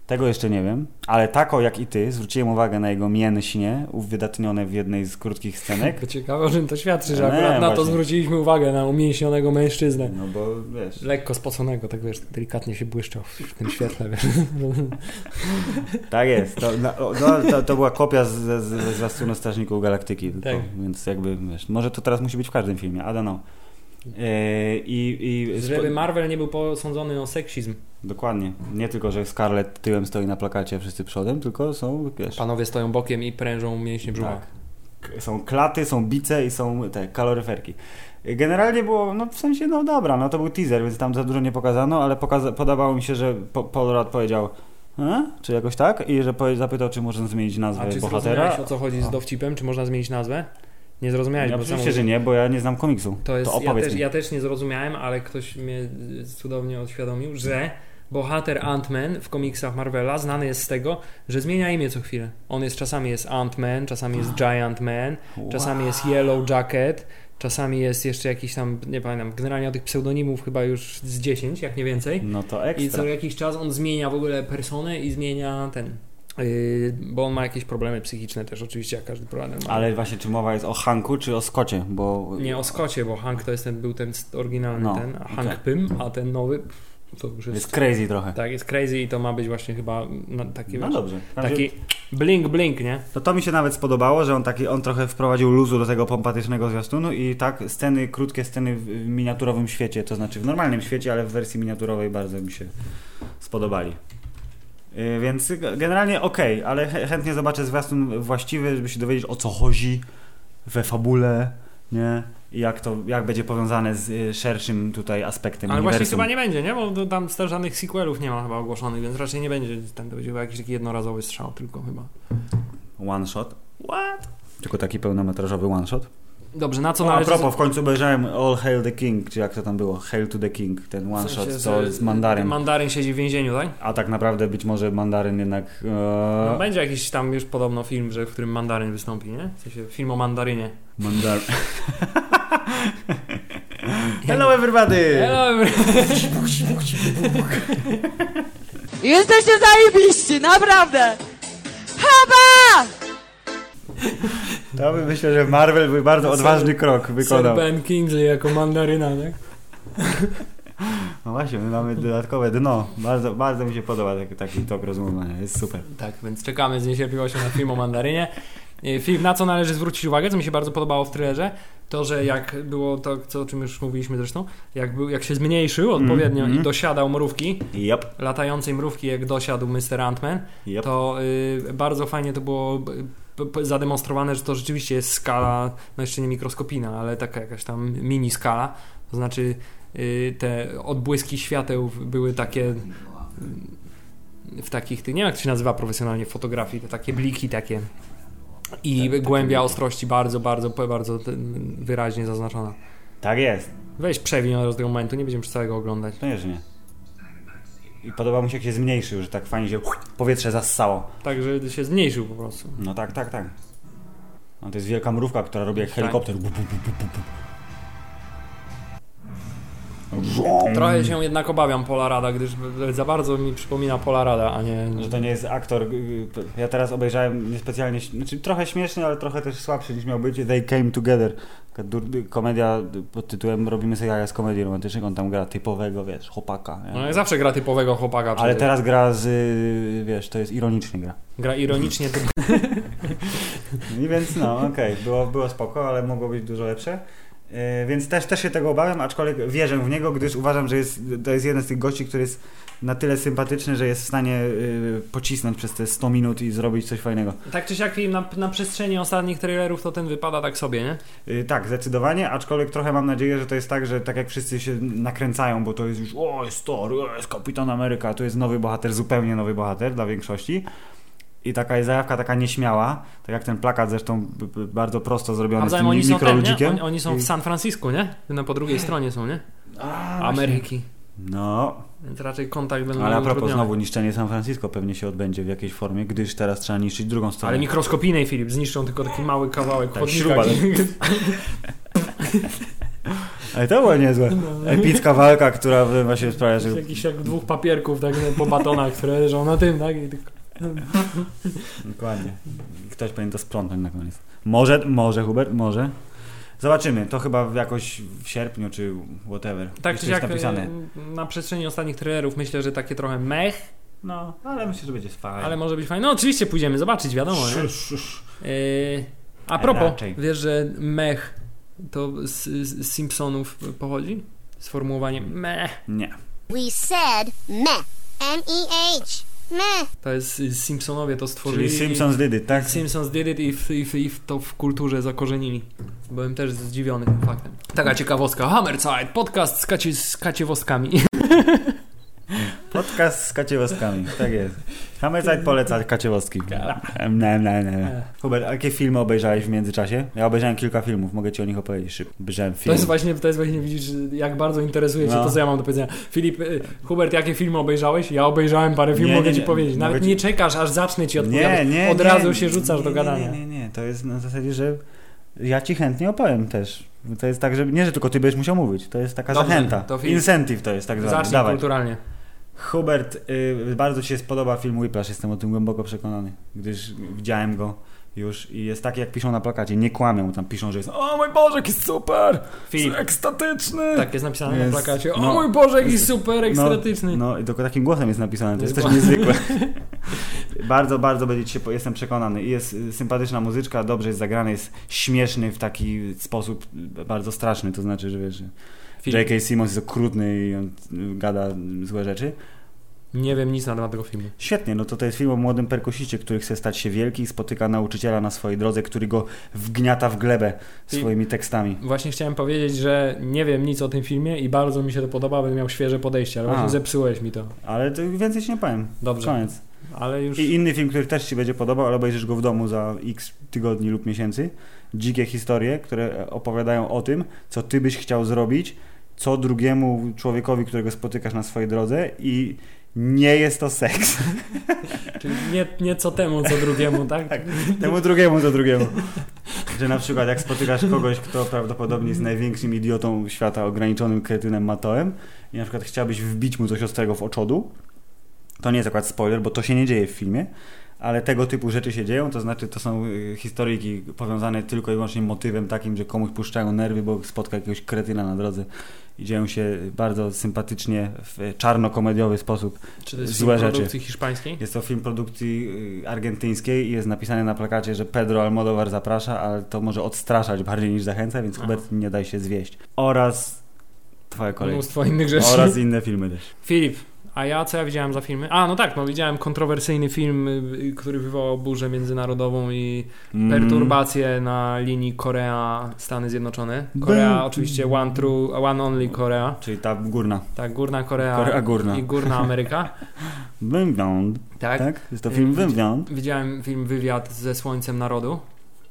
[SPEAKER 1] Tego jeszcze nie wiem, ale tako jak i ty zwróciłem uwagę na jego mięśnie, uwydatnione w jednej z krótkich scenek.
[SPEAKER 2] *laughs* To Ciekawe, o czym to świadczy, że
[SPEAKER 1] Nie,
[SPEAKER 2] akurat na to
[SPEAKER 1] właśnie.
[SPEAKER 2] zwróciliśmy uwagę, na umięśnionego mężczyznę.
[SPEAKER 1] No bo wiesz.
[SPEAKER 2] Lekko spoconego, tak wiesz, delikatnie się błyszczał w w tym świetle, wiesz.
[SPEAKER 1] Tak jest. To, no, o, no, to, to była kopia z- z- ze zwiastunu Strażników Galaktyki. Tylko,
[SPEAKER 2] Tak.
[SPEAKER 1] Więc jakby wiesz. Może to teraz musi być w każdym filmie, I don't know. Yy, i, i
[SPEAKER 2] Żeby Marvel nie był posądzony o seksizm.
[SPEAKER 1] Dokładnie. Nie tylko, że Scarlett tyłem stoi na plakacie, wszyscy przodem, tylko są, wiesz.
[SPEAKER 2] Panowie stoją bokiem i prężą mięśnie brzucha.
[SPEAKER 1] Tak. K- Są klaty, są bice i są te kaloryferki. Generalnie było, no w sensie, no dobra, no to był teaser, więc tam za dużo nie pokazano, ale pokaza- podobało mi się, że po- Paul Rudd powiedział, e? czy jakoś tak, i że powie- zapytał, czy można zmienić nazwę
[SPEAKER 2] A czy
[SPEAKER 1] bohatera.
[SPEAKER 2] zrozumiałeś, o co chodzi z
[SPEAKER 1] A.
[SPEAKER 2] dowcipem? Czy można zmienić nazwę? Nie zrozumiałeś,
[SPEAKER 1] Ja
[SPEAKER 2] bo
[SPEAKER 1] oczywiście,
[SPEAKER 2] samo-
[SPEAKER 1] że nie, bo ja nie znam komiksu.
[SPEAKER 2] To jest, ja,
[SPEAKER 1] opowiedz
[SPEAKER 2] też,
[SPEAKER 1] mi.
[SPEAKER 2] ja też nie zrozumiałem, ale ktoś mnie y, cudownie odświadomił, że bohater Ant-Man w komiksach Marvela znany jest z tego, że zmienia imię co chwilę. On jest czasami jest Ant-Man,
[SPEAKER 1] *gasps*
[SPEAKER 2] czasami jest Giant Man, czasami jest Yellow Jacket, czasami jest jeszcze jakiś tam, nie pamiętam, generalnie tych pseudonimów chyba już z 10, jak nie więcej.
[SPEAKER 1] No to
[SPEAKER 2] I
[SPEAKER 1] ekstra.
[SPEAKER 2] co jakiś czas on zmienia w ogóle personę i zmienia ten. y, bo on ma jakieś problemy psychiczne też, oczywiście, jak każdy problem ma.
[SPEAKER 1] Ale właśnie, czy mowa jest o Hanku, czy o Skocie, bo...
[SPEAKER 2] Nie o Scottie, bo Hank to jest ten, był ten st- oryginalny
[SPEAKER 1] No,
[SPEAKER 2] ten, a Hank
[SPEAKER 1] okej.
[SPEAKER 2] Pym, a ten nowy. To już
[SPEAKER 1] Jest
[SPEAKER 2] jest...
[SPEAKER 1] crazy trochę.
[SPEAKER 2] Tak, jest crazy i to ma być właśnie chyba no, taki,
[SPEAKER 1] No
[SPEAKER 2] wiesz,
[SPEAKER 1] dobrze.
[SPEAKER 2] taki blink, blink, nie?
[SPEAKER 1] No To, to mi się nawet spodobało, że on taki, on trochę wprowadził luzu do tego pompatycznego zwiastunu i tak sceny, krótkie sceny w w miniaturowym świecie, to znaczy w normalnym świecie, ale w wersji miniaturowej bardzo mi się spodobali. Yy, Więc g- generalnie okej, ale chę- chętnie zobaczę zwiastun właściwy, żeby się dowiedzieć o co chodzi we fabule, nie? I jak to, jak będzie powiązane z y, szerszym tutaj aspektem
[SPEAKER 2] Ale właśnie
[SPEAKER 1] uniwersum.
[SPEAKER 2] chyba nie będzie, nie? Bo to tam też żadnych sequelów nie ma chyba ogłoszonych, więc raczej nie będzie. Ten to będzie chyba jakiś taki jednorazowy strzał tylko chyba.
[SPEAKER 1] One shot. What? Tylko taki pełnometrażowy one shot.
[SPEAKER 2] Dobrze, na co
[SPEAKER 1] No, a
[SPEAKER 2] należy...
[SPEAKER 1] propos, w końcu obejrzałem All Hail the King, czy jak to tam było? Hail to the King, ten one
[SPEAKER 2] w sensie,
[SPEAKER 1] shot
[SPEAKER 2] że-
[SPEAKER 1] co z Mandaryn.
[SPEAKER 2] Mandaryn siedzi w więzieniu, tak?
[SPEAKER 1] A tak naprawdę być może Mandaryn jednak.
[SPEAKER 2] No,
[SPEAKER 1] E...
[SPEAKER 2] będzie jakiś tam już podobno film, że, w którym mandaryn wystąpi, nie? W sensie film o mandarynie.
[SPEAKER 1] Mandar...
[SPEAKER 2] *laughs*
[SPEAKER 1] Hello everybody!
[SPEAKER 2] *laughs* Hello,
[SPEAKER 3] Jesteście zajebiści, naprawdę! Haba!
[SPEAKER 1] To by myślę, że Marvel był bardzo
[SPEAKER 2] Sir-
[SPEAKER 1] odważny krok
[SPEAKER 2] Sir
[SPEAKER 1] wykonał.
[SPEAKER 2] Ben Kingsley jako mandaryna, tak?
[SPEAKER 1] No właśnie, my mamy dodatkowe dno. Bardzo, bardzo mi się podoba taki, taki tok rozumowania, jest super.
[SPEAKER 2] Tak, więc czekamy z niecierpliwością na film o mandarynie. E, Film, na co należy zwrócić uwagę, co mi się bardzo podobało w thrillerze, to, że jak było to, co, o czym już mówiliśmy zresztą, jak, był, jak się zmniejszył odpowiednio
[SPEAKER 1] mm.
[SPEAKER 2] i dosiadał mrówki,
[SPEAKER 1] Yep, latającej
[SPEAKER 2] latającej mrówki, jak dosiadł Mr. Antman,
[SPEAKER 1] yep.
[SPEAKER 2] to y, bardzo fajnie to było p- p- zademonstrowane, że to rzeczywiście jest skala, no jeszcze nie mikroskopijna, ale taka jakaś tam mini skala. To znaczy y, te odbłyski świateł w- były takie y, w takich, tych- nie wiem jak to się nazywa profesjonalnie w fotografii, te takie bliki takie. I
[SPEAKER 1] Tak, takie
[SPEAKER 2] głębia
[SPEAKER 1] bliki.
[SPEAKER 2] ostrości bardzo, bardzo, bardzo ten, wyraźnie zaznaczona.
[SPEAKER 1] Tak jest,
[SPEAKER 2] Weź przewin od razu tego momentu, nie będziemy przez całego oglądać.
[SPEAKER 1] koniecznie. I podoba mi się, jak się zmniejszył, że tak fajnie się powietrze zassało.
[SPEAKER 2] Także się zmniejszył po prostu.
[SPEAKER 1] No tak, tak, tak. No to jest wielka mrówka, która robi jak
[SPEAKER 2] Tak.
[SPEAKER 1] helikopter. Bu, bu, bu, bu, bu, bu.
[SPEAKER 2] Trochę się jednak obawiam Polarada, gdyż za bardzo mi przypomina Polarada, a nie...
[SPEAKER 1] No, Że to nie jest aktor. y, y, Ja teraz obejrzałem niespecjalnie, ś- znaczy trochę śmieszny, ale trochę też słabszy niż miał być. They Came Together. Taka dur- komedia pod tytułem Robimy sobie jaja z komedii romantycznych. On tam gra typowego, wiesz, chłopaka. nie?
[SPEAKER 2] No jak zawsze gra typowego chłopaka.
[SPEAKER 1] ale
[SPEAKER 2] przecież.
[SPEAKER 1] teraz gra z, y, wiesz, to jest ironicznie gra.
[SPEAKER 2] Gra ironicznie, typ... *laughs*
[SPEAKER 1] I więc no, okej, było, było spoko, ale mogło być dużo lepsze. Yy, Więc też, też się tego obawiam, aczkolwiek wierzę w niego, gdyż uważam, że jest, to jest jeden z tych gości, który jest na tyle sympatyczny, że jest w stanie yy, pocisnąć przez te 100 minut i zrobić coś fajnego.
[SPEAKER 2] tak czy siak film na, na przestrzeni ostatnich trailerów to ten wypada tak sobie, nie?
[SPEAKER 1] Yy, Tak, zdecydowanie, aczkolwiek trochę mam nadzieję, że to jest tak, że tak jak wszyscy się nakręcają, bo to jest już o, jest Thor, o, jest Kapitan Ameryka, to jest nowy bohater, zupełnie nowy bohater dla większości. I taka jest zajawka taka nieśmiała, tak jak ten plakat zresztą b- b- bardzo prosto zrobiony
[SPEAKER 2] A
[SPEAKER 1] z tym
[SPEAKER 2] zatem oni są, tam, nie?
[SPEAKER 1] mikroludzikiem.
[SPEAKER 2] Oni, oni są
[SPEAKER 1] I- Mm. No
[SPEAKER 2] w San Francisco, nie? No po drugiej stronie są, nie?
[SPEAKER 1] A,
[SPEAKER 2] Ameryki. Mm,
[SPEAKER 1] No,
[SPEAKER 2] Więc raczej kontakt będą
[SPEAKER 1] ale a propos
[SPEAKER 2] utrudniony.
[SPEAKER 1] znowu niszczenie San Francisco pewnie się odbędzie w jakiejś formie, gdyż teraz trzeba niszczyć drugą stronę.
[SPEAKER 2] Ale mikroskopijnej Filip, zniszczą tylko taki mały kawałek
[SPEAKER 1] Tak,
[SPEAKER 2] chodnika.
[SPEAKER 1] śruba,
[SPEAKER 2] *laughs*
[SPEAKER 1] Ale to było niezłe.
[SPEAKER 2] No.
[SPEAKER 1] Epicka walka, która właśnie sprawia, że...
[SPEAKER 2] Jakiś jak dwóch papierków tak no, po batonach, które leżą na tym, tak? I tylko...
[SPEAKER 1] Dokładnie. Ktoś powinien to sprzątnąć na koniec. Może, może Hubert, może. Zobaczymy, to chyba jakoś w sierpniu czy whatever.
[SPEAKER 2] Tak
[SPEAKER 1] Jeszcze
[SPEAKER 2] czy
[SPEAKER 1] jest
[SPEAKER 2] siak,
[SPEAKER 1] napisane.
[SPEAKER 2] y, na przestrzeni ostatnich trailerów myślę, że takie trochę mech,
[SPEAKER 1] No, ale myślę, że będzie fajnie.
[SPEAKER 2] ale może być fajne. No oczywiście pójdziemy zobaczyć, wiadomo. Nie?
[SPEAKER 1] Sz, sz, sz.
[SPEAKER 2] Yy, a propos,
[SPEAKER 1] Raczej.
[SPEAKER 2] wiesz, że mech to z, z Simpsonów pochodzi? Sformułowanie meh.
[SPEAKER 1] Nie.
[SPEAKER 4] We said meh. M-E-H. Meh.
[SPEAKER 2] To jest y, Simpsonowie to stworzyli.
[SPEAKER 1] Czyli Simpsons did it, tak?
[SPEAKER 2] Simpsons did it i, w, i, w, i w to w kulturze zakorzenili. Byłem też zdziwiony tym faktem. Taka ciekawostka. Hammerside, podcast z, kaci, z kaciewostkami.
[SPEAKER 1] Podcast z kaciewostkami, tak jest. Hammerside poleca kaciewostki. Em, Ne, ne, ne,
[SPEAKER 2] E,
[SPEAKER 1] ne. Hubert, a jakie filmy obejrzałeś w międzyczasie? Ja obejrzałem kilka filmów, mogę ci o nich opowiedzieć szybko. Obejrzałem
[SPEAKER 2] To
[SPEAKER 1] film.
[SPEAKER 2] jest właśnie, to jest właśnie widzisz, jak bardzo interesuje cię
[SPEAKER 1] No.
[SPEAKER 2] to, co ja mam do powiedzenia. Filip, y, Hubert, jakie filmy obejrzałeś? Ja obejrzałem parę filmów,
[SPEAKER 1] Nie, nie,
[SPEAKER 2] mogę ci
[SPEAKER 1] nie.
[SPEAKER 2] powiedzieć.
[SPEAKER 1] Mogę
[SPEAKER 2] Nawet
[SPEAKER 1] ci-
[SPEAKER 2] nie czekasz, aż zacznę ci odpowiadać. Od razu się rzucasz
[SPEAKER 1] nie,
[SPEAKER 2] do gadania.
[SPEAKER 1] Nie, nie, nie, nie, to jest na zasadzie, że ja ci chętnie opowiem też. To jest tak, że nie, że tylko ty będziesz musiał mówić. To jest taka
[SPEAKER 2] Dobrze,
[SPEAKER 1] zachęta.
[SPEAKER 2] to film.
[SPEAKER 1] Incentive to jest tak zwany.
[SPEAKER 2] Zacznij
[SPEAKER 1] Dawaj.
[SPEAKER 2] kulturalnie.
[SPEAKER 1] Hubert, y, bardzo Ci się spodoba film Whiplash, jestem o tym głęboko przekonany, gdyż widziałem go już i jest taki, jak piszą na plakacie, nie kłamią, tam piszą, że jest o mój Boże, jaki super,
[SPEAKER 2] Filip.
[SPEAKER 1] jest ekstatyczny.
[SPEAKER 2] Tak jest napisane
[SPEAKER 1] Jest-
[SPEAKER 2] na plakacie. O
[SPEAKER 1] no.
[SPEAKER 2] mój Boże, jaki super ekstratyczny. No
[SPEAKER 1] No, no i tylko takim głosem jest napisane, to jest też
[SPEAKER 2] Dokładnie.
[SPEAKER 1] niezwykłe.
[SPEAKER 2] *laughs*
[SPEAKER 1] bardzo, bardzo będzie ci się, po- jestem przekonany. I Jest y, sympatyczna muzyczka, dobrze jest zagrany, jest śmieszny w taki sposób y, bardzo straszny, to znaczy, że wiesz, że
[SPEAKER 2] Filip,
[SPEAKER 1] J.K. Simmons jest okrutny i on y, gada y, złe rzeczy.
[SPEAKER 2] nie wiem nic na temat tego filmu.
[SPEAKER 1] Świetnie, no to to jest film o młodym perkusiście, który chce stać się wielki i spotyka nauczyciela na swojej drodze, który go wgniata w glebę
[SPEAKER 2] I-
[SPEAKER 1] swoimi tekstami.
[SPEAKER 2] Właśnie chciałem powiedzieć, że nie wiem nic o tym filmie i bardzo mi się to podoba, bym miał świeże podejście, ale
[SPEAKER 1] A.
[SPEAKER 2] właśnie zepsułeś mi to.
[SPEAKER 1] Ale to więcej ci nie powiem.
[SPEAKER 2] Dobrze,
[SPEAKER 1] Koniec.
[SPEAKER 2] ale już...
[SPEAKER 1] I inny film, który też Ci będzie podobał, ale obejrzysz go w domu za x tygodni lub miesięcy. Dzikie historie, które opowiadają o tym, co Ty byś chciał zrobić, co drugiemu człowiekowi, którego spotykasz na swojej drodze i nie jest to seks.
[SPEAKER 2] Czyli nie, nie co temu, co
[SPEAKER 1] *laughs*
[SPEAKER 2] drugiemu, tak?
[SPEAKER 1] Tak. Temu drugiemu to drugiemu. Że na przykład jak spotykasz kogoś, kto prawdopodobnie jest największym idiotą świata, ograniczonym kretynem Matoem i na przykład chciałbyś wbić mu coś ostrego w oczodu, to nie jest akurat spoiler, bo to się nie dzieje w filmie, ale tego typu rzeczy się dzieją, to znaczy to są y, historyjki powiązane tylko i wyłącznie motywem takim, że komuś puszczają nerwy, bo spotka jakiegoś kretyna na drodze i dzieją się bardzo sympatycznie w czarno-komediowy sposób.
[SPEAKER 2] Czy to jest
[SPEAKER 1] Złe
[SPEAKER 2] film
[SPEAKER 1] rzeczy.
[SPEAKER 2] produkcji hiszpańskiej?
[SPEAKER 1] Jest to film produkcji y, argentyńskiej i jest napisane na plakacie, że Pedro Almodovar zaprasza, ale to może odstraszać bardziej niż zachęca, więc
[SPEAKER 2] Aha.
[SPEAKER 1] Hubert nie daj się zwieść. Oraz twoje kolej.
[SPEAKER 2] Mnóstwo innych rzeczy.
[SPEAKER 1] Oraz inne filmy
[SPEAKER 2] *laughs*
[SPEAKER 1] też.
[SPEAKER 2] Filip, a ja co ja widziałem za filmy? A, no tak, no widziałem kontrowersyjny film, y, który wywołał burzę międzynarodową i
[SPEAKER 1] Mm.
[SPEAKER 2] perturbacje na linii Korea-Stany Zjednoczone. Korea,
[SPEAKER 1] Bum.
[SPEAKER 2] oczywiście one true, one only Korea.
[SPEAKER 1] Mm, Czyli ta górna.
[SPEAKER 2] Tak, Górna Korea,
[SPEAKER 1] Korea Górna.
[SPEAKER 2] i Górna Ameryka.
[SPEAKER 1] Wymgląd, *laughs*
[SPEAKER 2] Tak.
[SPEAKER 1] tak? Jest to film
[SPEAKER 2] Y,
[SPEAKER 1] Wymgląd.
[SPEAKER 2] Widziałem film Wywiad ze Słońcem Narodu,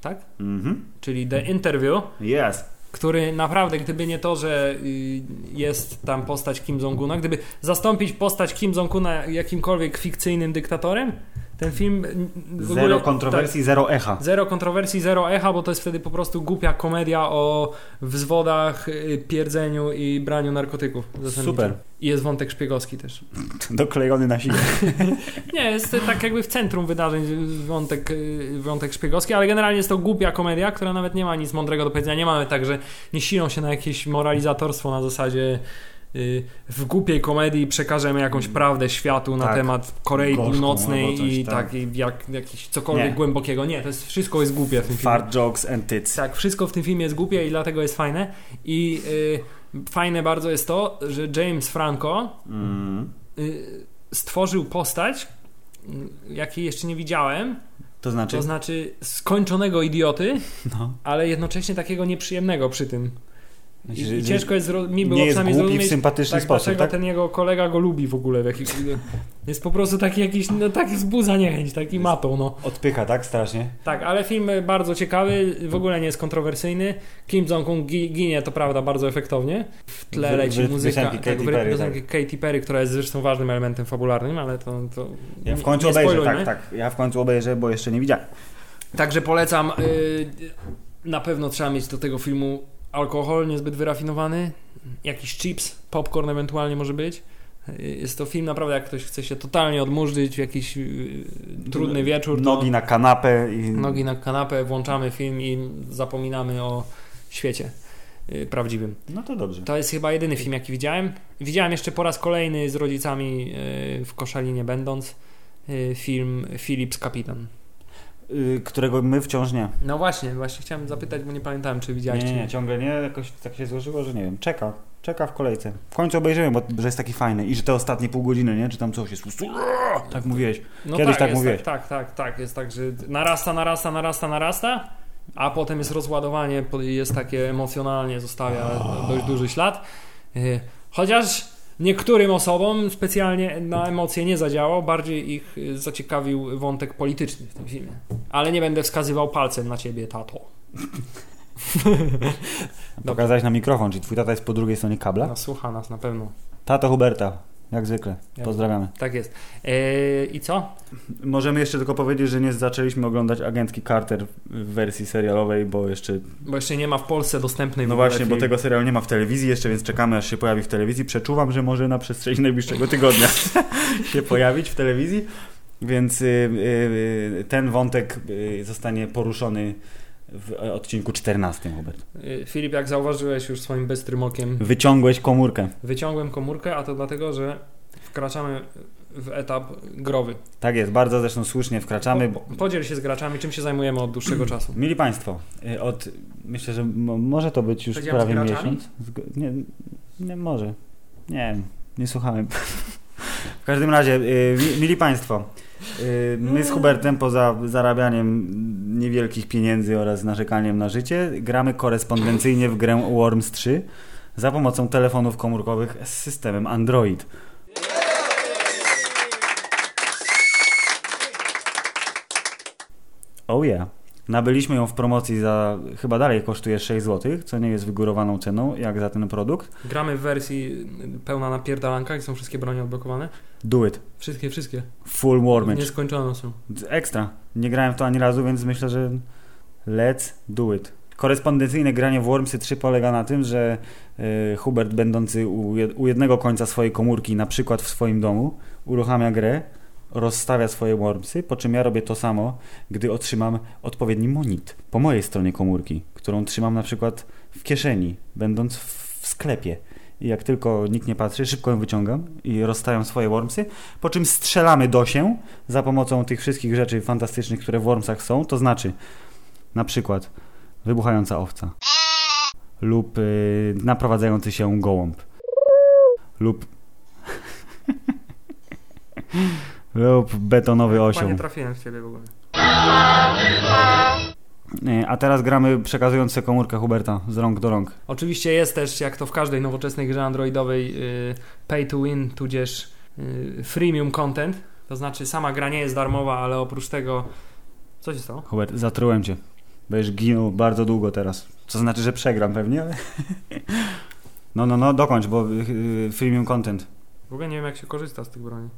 [SPEAKER 2] tak?
[SPEAKER 1] Mhm.
[SPEAKER 2] Czyli The Interview.
[SPEAKER 1] Yes.
[SPEAKER 2] który naprawdę, gdyby nie to, że y, jest tam postać Kim Jong-una, gdyby zastąpić postać Kim Jong-una jakimkolwiek fikcyjnym dyktatorem, ten film n- w
[SPEAKER 1] Zero
[SPEAKER 2] ogóle,
[SPEAKER 1] kontrowersji, zero echa. *laughs*
[SPEAKER 2] tak, zero kontrowersji, zero echa, bo to jest wtedy po prostu głupia komedia o wzwodach, y, pierdzeniu i braniu narkotyków. zasadniczo.
[SPEAKER 1] Super.
[SPEAKER 2] I jest wątek szpiegowski też.
[SPEAKER 1] Doklejony na siłę.
[SPEAKER 2] *laughs* Nie, jest y, tak jakby w centrum wydarzeń y, wątek, y, wątek szpiegowski, ale generalnie jest to głupia komedia, która nawet nie ma nic mądrego do powiedzenia. Nie mamy tak, że nie silą się na jakieś moralizatorstwo na zasadzie y, w głupiej komedii przekażemy jakąś prawdę światu na
[SPEAKER 1] Tak.
[SPEAKER 2] temat Korei
[SPEAKER 1] Gorzką
[SPEAKER 2] Północnej
[SPEAKER 1] albo coś,
[SPEAKER 2] i
[SPEAKER 1] tak.
[SPEAKER 2] tak, i jak, jakiś cokolwiek
[SPEAKER 1] Nie.
[SPEAKER 2] głębokiego. Nie, to jest wszystko jest głupie w tym filmie.
[SPEAKER 1] Fart jokes and tits.
[SPEAKER 2] Tak, wszystko w tym filmie jest głupie i dlatego jest fajne. I y, fajne bardzo jest to, że James Franco,
[SPEAKER 1] Mm.
[SPEAKER 2] y, stworzył postać, y, jakiej jeszcze nie widziałem,
[SPEAKER 1] To znaczy...
[SPEAKER 2] to znaczy skończonego idioty,
[SPEAKER 1] *laughs* No.
[SPEAKER 2] ale jednocześnie takiego nieprzyjemnego przy tym. I,
[SPEAKER 1] Że-
[SPEAKER 2] i ciężko jest, zro- mi
[SPEAKER 1] nie
[SPEAKER 2] było
[SPEAKER 1] jest
[SPEAKER 2] przynajmniej
[SPEAKER 1] głupi w
[SPEAKER 2] zrozumieć,
[SPEAKER 1] sympatyczny
[SPEAKER 2] tak,
[SPEAKER 1] sposób,
[SPEAKER 2] dlaczego
[SPEAKER 1] tak?
[SPEAKER 2] ten jego kolega go lubi w ogóle. W jakiś, *laughs* jest po prostu taki jakiś, no taki wzbudza niechęć, taki
[SPEAKER 1] Jest-
[SPEAKER 2] matą, no.
[SPEAKER 1] Odpycha, tak? Strasznie.
[SPEAKER 2] Tak, ale film bardzo ciekawy, w ogóle nie jest kontrowersyjny. Kim Jong-un gi- ginie, to prawda, bardzo efektownie. W
[SPEAKER 1] Wy-
[SPEAKER 2] tle leci
[SPEAKER 1] wy-
[SPEAKER 2] muzyka
[SPEAKER 1] piosenki Katy
[SPEAKER 2] tak, wy-
[SPEAKER 1] Perry,
[SPEAKER 2] piosenki Katy Perry, która jest zresztą ważnym elementem fabularnym, ale to... to
[SPEAKER 1] Ja w
[SPEAKER 2] nie-
[SPEAKER 1] końcu
[SPEAKER 2] nie
[SPEAKER 1] obejrzę,
[SPEAKER 2] spoilujmy.
[SPEAKER 1] tak, tak. Ja w końcu obejrzę, bo jeszcze nie widziałem.
[SPEAKER 2] Także polecam. y, na pewno trzeba mieć do tego filmu alkohol niezbyt wyrafinowany, jakiś chips, popcorn ewentualnie może być. Y, Jest to film naprawdę, jak ktoś chce się totalnie odmurzyć w jakiś y, trudny wieczór. to-
[SPEAKER 1] Nogi na kanapę i...
[SPEAKER 2] nogi na kanapę, włączamy film i zapominamy o świecie y, prawdziwym.
[SPEAKER 1] No to dobrze.
[SPEAKER 2] To jest chyba jedyny film, jaki widziałem. Widziałem jeszcze po raz kolejny z rodzicami y, w Koszalinie będąc y, film Philips Kapitan.
[SPEAKER 1] Y, Którego my wciąż nie.
[SPEAKER 2] No właśnie, właśnie chciałem zapytać, bo nie pamiętałem, czy
[SPEAKER 1] Nie,
[SPEAKER 2] widziałeś.
[SPEAKER 1] nie,
[SPEAKER 2] czy
[SPEAKER 1] nie, ciągle nie. Jakoś tak się złożyło, że nie wiem. Czeka. Czeka w kolejce. W końcu obejrzymy, bo że jest taki fajny. I że te ostatnie pół godziny, nie? Czy tam coś jest... Tak mówiłeś.
[SPEAKER 2] No
[SPEAKER 1] Kiedyś tak
[SPEAKER 2] jest,
[SPEAKER 1] mówiłeś.
[SPEAKER 2] Tak, tak, tak. Jest tak, że narasta, narasta, narasta, narasta, a potem jest rozładowanie, po- jest takie emocjonalnie, zostawia dość duży ślad. Y, Chociaż niektórym osobom specjalnie na emocje nie zadziałało, bardziej ich y, zaciekawił wątek polityczny w tym filmie. Ale nie będę wskazywał palcem na ciebie, tato.
[SPEAKER 1] Pokazałeś na mikrofon, czyli twój tata jest po drugiej stronie kabla?
[SPEAKER 2] No, słucha No, nas na pewno.
[SPEAKER 1] Tato Huberta. jak zwykle.
[SPEAKER 2] Ja-
[SPEAKER 1] Pozdrawiamy.
[SPEAKER 2] Tak jest. E, I co?
[SPEAKER 1] Możemy jeszcze tylko powiedzieć, że nie zaczęliśmy oglądać agentki Carter w wersji serialowej, bo jeszcze.
[SPEAKER 2] Bo jeszcze nie ma w Polsce dostępnej w
[SPEAKER 1] No
[SPEAKER 2] ogóle
[SPEAKER 1] właśnie, bo
[SPEAKER 2] film.
[SPEAKER 1] tego serialu nie ma w telewizji jeszcze, więc czekamy aż się pojawi w telewizji. Przeczuwam, że może na przestrzeni najbliższego tygodnia *laughs* się pojawić w telewizji. Więc y, y, y, ten wątek y, zostanie poruszony w odcinku 14, Hubert.
[SPEAKER 2] E, Filip, jak zauważyłeś już swoim bystrym okiem,
[SPEAKER 1] Wyciągłeś komórkę.
[SPEAKER 2] wyciągłem komórkę, a to dlatego, że wkraczamy w etap growy.
[SPEAKER 1] Tak jest, bardzo zresztą słusznie wkraczamy.
[SPEAKER 2] Po-
[SPEAKER 1] Bo...
[SPEAKER 2] Podziel się z graczami, czym się zajmujemy od dłuższego czasu.
[SPEAKER 1] Mili Państwo, y, od, myślę, że mo- może to być już
[SPEAKER 2] Powiedziałem z
[SPEAKER 1] prawie
[SPEAKER 2] graczami?
[SPEAKER 1] miesiąc. Zg- Nie, nie, może. Nie, nie słuchałem. W każdym razie, y, mi- mili Państwo, y, my z Hubertem poza zarabianiem niewielkich pieniędzy oraz narzekaniem na życie, gramy korespondencyjnie w grę Worms 3 za pomocą telefonów komórkowych z systemem Android. Oh yeah. Nabyliśmy ją w promocji za chyba dalej kosztuje 6 zł, co nie jest wygórowaną ceną jak za ten produkt.
[SPEAKER 2] Gramy w wersji pełna napierdalanka i są wszystkie bronie odblokowane.
[SPEAKER 1] Do it.
[SPEAKER 2] Wszystkie, wszystkie.
[SPEAKER 1] Full warmage.
[SPEAKER 2] Nieskończone są.
[SPEAKER 1] Ekstra. Nie grałem w to ani razu, więc myślę, że let's do it. Korespondencyjne granie w Wormsy 3 polega na tym, że e, Hubert będący u, jed- u jednego końca swojej komórki, na przykład w swoim domu, uruchamia grę, rozstawia swoje Wormsy, po czym ja robię to samo, gdy otrzymam odpowiedni monit po mojej stronie komórki, którą trzymam na przykład w kieszeni, będąc w, w sklepie. I jak tylko nikt nie patrzy, szybko ją wyciągam i rozstawiam swoje Wormsy, po czym strzelamy do się za pomocą tych wszystkich rzeczy fantastycznych, które w Wormsach są, to znaczy na przykład wybuchająca owca lub y, naprowadzający się gołąb lub *laughs* lub betonowy
[SPEAKER 2] Panie,
[SPEAKER 1] osioł.
[SPEAKER 2] trafiłem w ciebie w ogóle.
[SPEAKER 1] Y, A teraz gramy przekazując sobie komórkę Huberta z rąk do rąk.
[SPEAKER 2] Oczywiście jest też, jak to w każdej nowoczesnej grze androidowej, y, pay to win, tudzież y, freemium content. To znaczy sama gra nie jest darmowa, ale oprócz tego... Co się stało?
[SPEAKER 1] Hubert, zatrułem cię. Będziesz ginął bardzo długo teraz. Co znaczy, że przegram pewnie, ale... *laughs* No, no, no, dokończ, bo y, freemium content.
[SPEAKER 2] W ogóle nie wiem, jak się korzysta z tych broni.